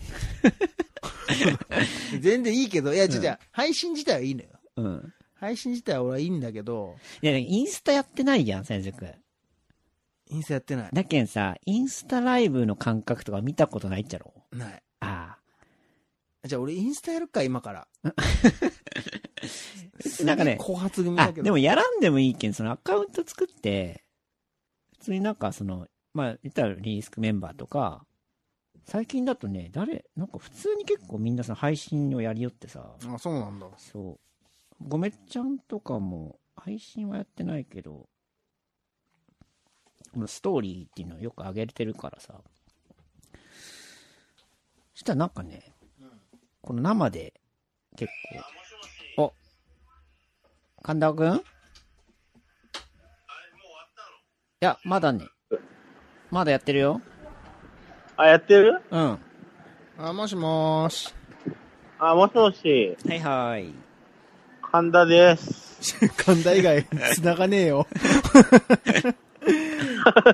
全然いいけど、いや、ちょ、じゃあ配信自体はいいのよ。
うん。
配信自体は俺はいいんだけど、
いや、インスタやってないじゃん、千塾。
インスタやってない。
だけんさ、インスタライブの感覚とか見たことないっちゃろ
ない。
あ
じゃあ俺インスタやるか、今から。
あ。なんかね、
後発組だ
あ、
けど。
でもやらんでもいいけん、そのアカウント作って、普通になんかその、まあ、言ったらリリースクメンバーとか、最近だとね、誰、なんか普通に結構みんなその配信をやりよってさ、
あ、そうなんだ。
そう。ごめっちゃんとかも、配信はやってないけど、このストーリーっていうのをよく上げてるからさ。そしたらなんかね、この生で結構、お神田くんいや、まだね。まだやってるよ。
あ、やってる
うん。は
あ、もしもーし。
あ、もしもし、
いはい。
神田です。
神田以外、繋がねえよ。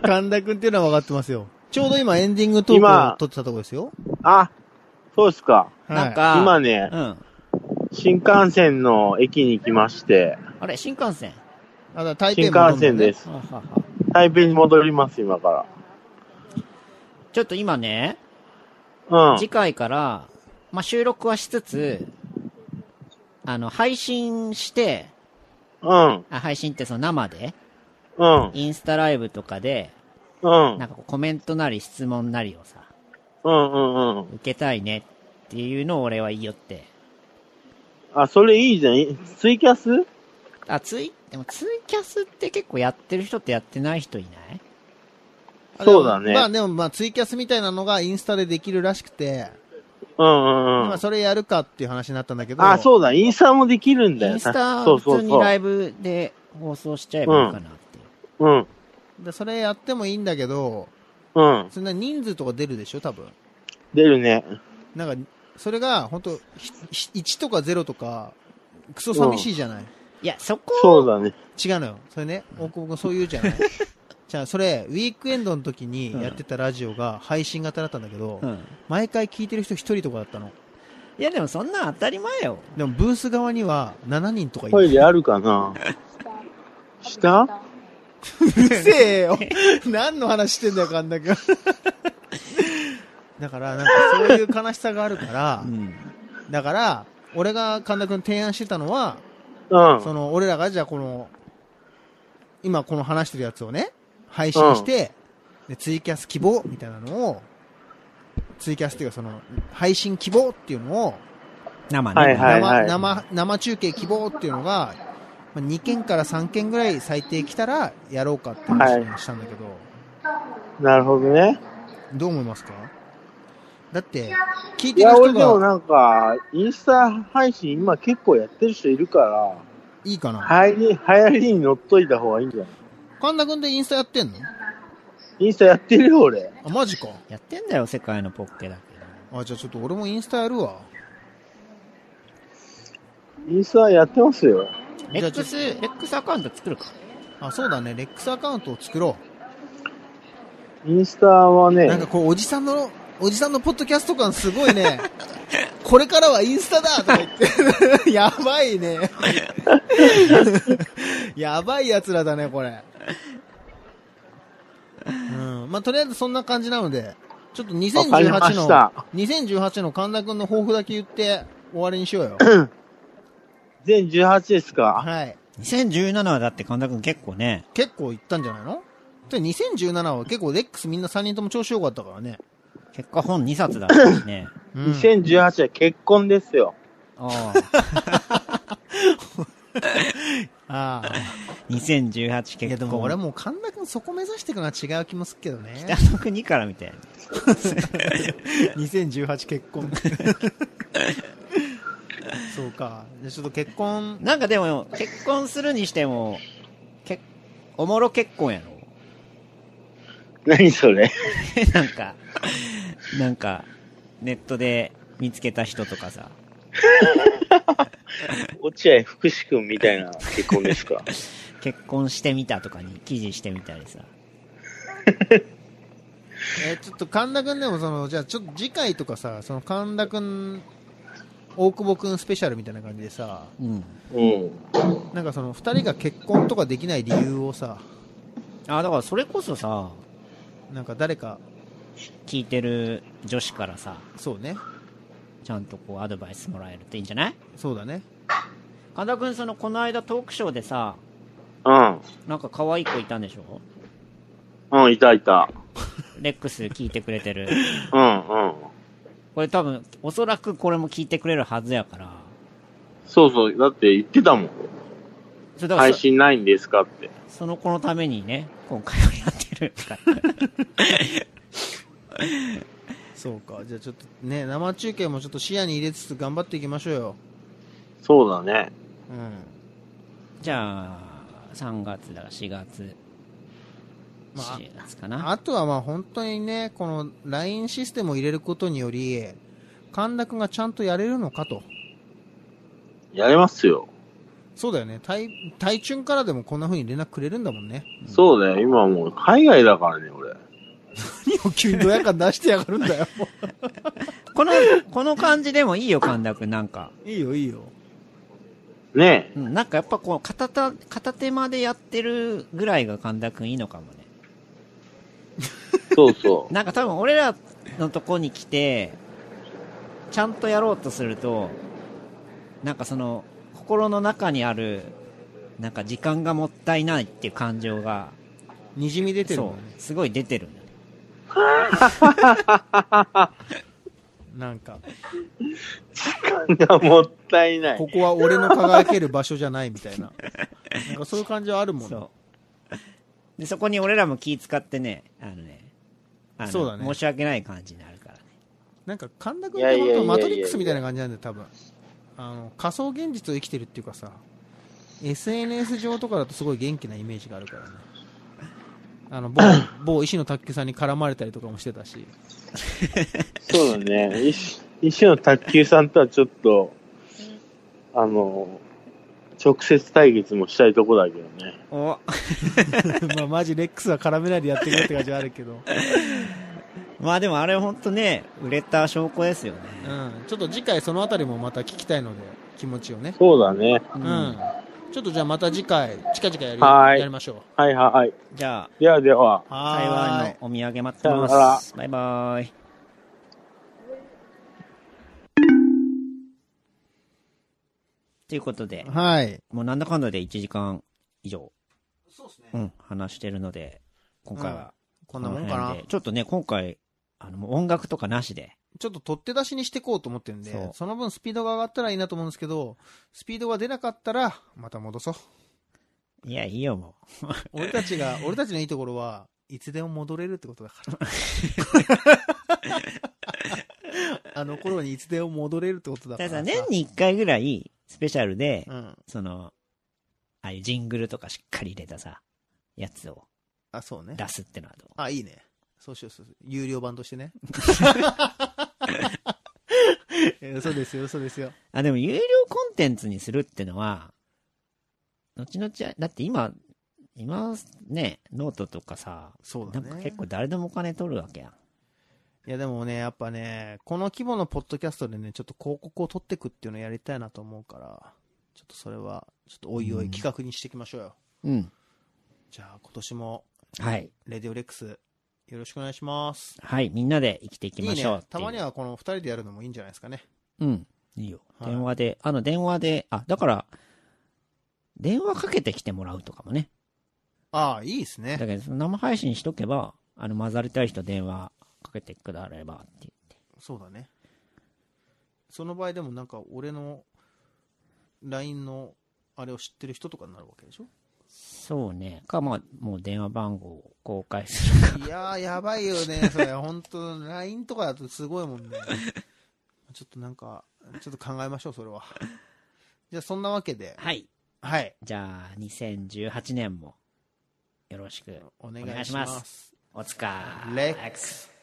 神田くんっていうのは分かってますよ。ちょうど今エンディングトークを
今
撮ってたとこですよ。
あ、そうですか。
はい
なん、か、
今ね
う、ん。
新幹線の駅に来まして、
あれ、新幹線。
あだから大抵
新
も
幹線です。
はあはあはあ
台北に戻ります、今か
ちょっと今ね、
ら。うん
次。回から、まあ、収録はしつつ、あの、配信して、
うん。
あ配信ってその生で、
うん。
インスタライブとかで、
うん。
なんかこうコメントなり質問なりをさ、
うんうんうん。
受けたいねっていうのを俺は言いよって。
あ、それいいじゃん。ツイキャス
あ、ツイ、でもツイキャスって結構やってる人とやってない人いない
あでも
そうだね
まあでもまあツイキャスみたいなのがインスタでできるらしくて、
うんうんう
今
ん。
それやるかっていう話になったんだけど。
あ、そうだ。インスタもできるんだよ。
インスタ
そ
普
う
通
そう
に
そ
ラ
う。
イブで放送しちゃえばいいかなっていう。
うん。
で、それやってもいいんだけど、
うん。
そんな人数とか出るでしょ、多分。
出るね。
なんか、それが、本当1とか0とか、クソ寂しいじゃない、
いや、そこ
そうだね。
違うのよ。それね、大久保君そう言うじゃ ないじゃあ、それ、ウィークエンドの時にやってたラジオが配信型だったんだけど、
うん。
毎回聞いてる人1人とかだったの。
いや、でもそんなん当たり前よ。
でも、ブース側には7人とかい
トイ
る。
レあるかな下
うるせえよ 何の話してんだよ、神田君。 だから、なんかそういう悲しさがあるから
う、ん。
だから、俺が神田君提案してたのは、
うん。
その、俺らがじゃあこの、今この話してるやつをね、配信して、で、ツイキャス希望みたいなのを、ツイキャスっていうかその、配信希望っていうのを、
生ね。
はいはい
生、生、生中継希望っていうのが、まあ2件から3件ぐらい最低来たらやろうかって話にしたんだけど、
なるほどね。
どう思いますかだって、聞い
い
てる
や、俺
人
でも
が
なんか、インスタ配信今結構やってる人いるから、
いいかな
流行り、流行りに乗っといた方がいいんじゃない
神田くんってインスタやってんの
インスタやってるよ、俺。
あ、マジか。
やってんだよ、世界のポッケだけど。
あ、じゃあちょっと俺もインスタやるわ。
インスタやってますよ。
レ
じゃ
ッ
あちょ
ク
っ
ス、レックスアカウント作るか。
あ、そうだね。レックスアカウントを作ろう。
インスタはね、
なんかこう、おじさんの、おじさんのポッドキャスト感すごいね。 これからはインスタだとか言って。 やばいね。やばい奴らだね、これ。うん。まあ、とりあえずそんな感じなので、ちょっと
わかりま
2018
し
の
た、
2018の神田くんの抱負だけ言って終わりにしようよ。
全18ですか
はい。
2017はだって神田くん結構ね、
結構いったんじゃないので2017は結構レックスみんな3人とも調子良かったからね。
結果本2冊だったし ね。
うん、
?2018 は結婚ですよ。
あ
ああ。
あ。2018
いやで
結
も
構。
俺
俺も。
もう神田君そこ目指していくのは違う気もするけどね。
北の国からみたいな。
2018結婚。 そうか。じゃあちょっと結婚、
なんかでも、結婚するにしても、け、おもろ結婚やろ。
何それ
なんか、なんか、ネットで見つけた人とかさ。
落合福士君みたいな結婚です か
結婚してみたとかに記事してみたりさ。
えーちょっと神田君でもその、じゃあちょっと次回とかさ、その神田君、大久保君スペシャルみたいな感じでさ、
うん。
うん。
なんかその二人が結婚とかできない理由をさ、
あ、だからそれこそさ、
なんか誰か、
聞いてる女子からさ、
そうね。
ちゃんとこうアドバイスもらえるといいんじゃない
そうだね。
神田くん、その、この間トークショーでさ、
うん。
なんか可愛い子いたんでしょ
うん、いたいた。
レックス聞いてくれてる。
うん、うん。
これ多分、おそらくこれも聞いてくれるはずやから。
そうそう、だって言ってたもん。
それだから
配
そ、
信ないんですかって。
その子のためにね、今回はやってるから。
そうか。じゃあちょっとね、生中継もちょっと視野に入れつつ頑張っていきましょうよ。
そうだね。
うん。
じゃあ、3月だから4月。
まあ
4月かな。
あとはまあ本当にね、この LINE システムを入れることにより、神田くんがちゃんとやれるのかと。
やれますよ。
そうだよね。体、体中からでもこんな風に連絡くれるんだもん ね。
そうだよ、今もう海外だからね、俺。
何を急にドヤ感出してやがるんだよ。も
この、この感じでもいいよ、神田くん、なんか。
ういいよ、いいよ。
ね
うん、なんかやっぱこう、片手、片手間でやってるぐらいが神田くんいいのかもね。
え。そうそう。
なんか多分俺らのとこに来て、ちゃんとやろうとすると、なんかその、心の中にある、なんか時間がもったいないっていう感情が、
にじみ出てるも
そ
んね。
う、すごい出てるんだよね
なんか、
時間がもったいない。
ここは俺の輝ける場所じゃないみたいな。なんかそういう感じはあるもんね。
そう。で、そこに俺らも気使ってね、あのね、あの
そうだね申
申し訳ない感じになるからね。
なんか神田君
い
っ
や
て
いやいやい
本
や
当マトリックスみたいな感じなんだよ、多分。あの、仮想現実を生きてるっていうかさ、SNS 上とかだとすごい元気なイメージがあるからね。あ の、某、某石野卓球さんに絡まれたりとかもしてたし。
そうだね。石石野卓球さんとはちょっと、あの、直接対決もしたいとこだけどね。
お、
まあ、マジレックスは絡めないでやってくれって感じはあるけど。
まあでもあれほんとね、売れた証拠ですよね。
うん。ちょっと次回そのあたりもまた聞きたいので、気持ちをね。
そうだね。
う。
うんん
ちょっとじゃあまた次回、近々やり、
はーい
やりましょ
はいはい。
じゃあ、
ではでは。
う。
台
はーい
湾。のお土産待ってま
さよなら
す。バイバーイ。ということで、
はい。
もうなんだかんだで1時間以上、
そうですね。
うん、話してるので、今回は
こんなもんか
この
な
辺。でちょっとね、今回、あの、もう音楽とかなしで、
ちょっと取って出しにしていこうと思ってるんで、
そ
そうの分スピードが上がったらいいなと思うんですけど、スピードが出なかったら、また 戻そう。
いや、いいよ、も
俺たちが、俺たちのいいところは、いつでも戻れるってことだから。 あの頃にいつでも戻れるってこと
う。
だか
た
ら
だ
さ。
さ、年に1回ぐらい、スペシャルで、
うん。
その、ああいうジングルとかしっかり入れたさ、やつを
あ、そうね。
出すってのはどう
あ、いいね。そうしよう、そうしよう。有料版とし てね。 えーそうですよ、そうですよ。
あ、でも有料コンテンツにするってのは、後々、だって今、今ね、ノートとかさ、
そう
な
だ
んか
ね
結。構誰でもお金取るわけやん。
いやでもね、やっぱね、この規模のポッドキャストでね、ちょっと広告を取ってくっていうのをやりたいなと思うから、ちょっとそれは、ちょっとおいおい企画にしていきましょうよ。
うん。
じゃあ今年も、
はい。
レディオレックス、よろしくお願いします。
はい、みんなで生きていき
い
ま
い
しょう
ね
っ。て
た
いう
まにはこの二人でやるのもいいんじゃないですかね。
うん。いいよ。
はい
電話で、あの、電話で、あ、だから、電話かけてきてもらうとかもね。
ああ、いいです
だ
ね。
けど、その生配信しとけば、あの、混ざりたい人電話かけてくだればって言って。
そうだね。その場合でもなんか、俺の、LINE の、あれを知ってる人とかになるわけでしょ
そうね。か、まあ、もう電話番号を公開するか。
いやー、やばいよね、それ。本当 LINE とかだとすごいもんね。ちょっとなんか、ちょっと考えましょう、それは。じゃあ、そんなわけで、
はい。
はい。
じゃあ、2018年も、よろしく
お願
お願
い
い
し
し
ま。
ますすおつか
レックス。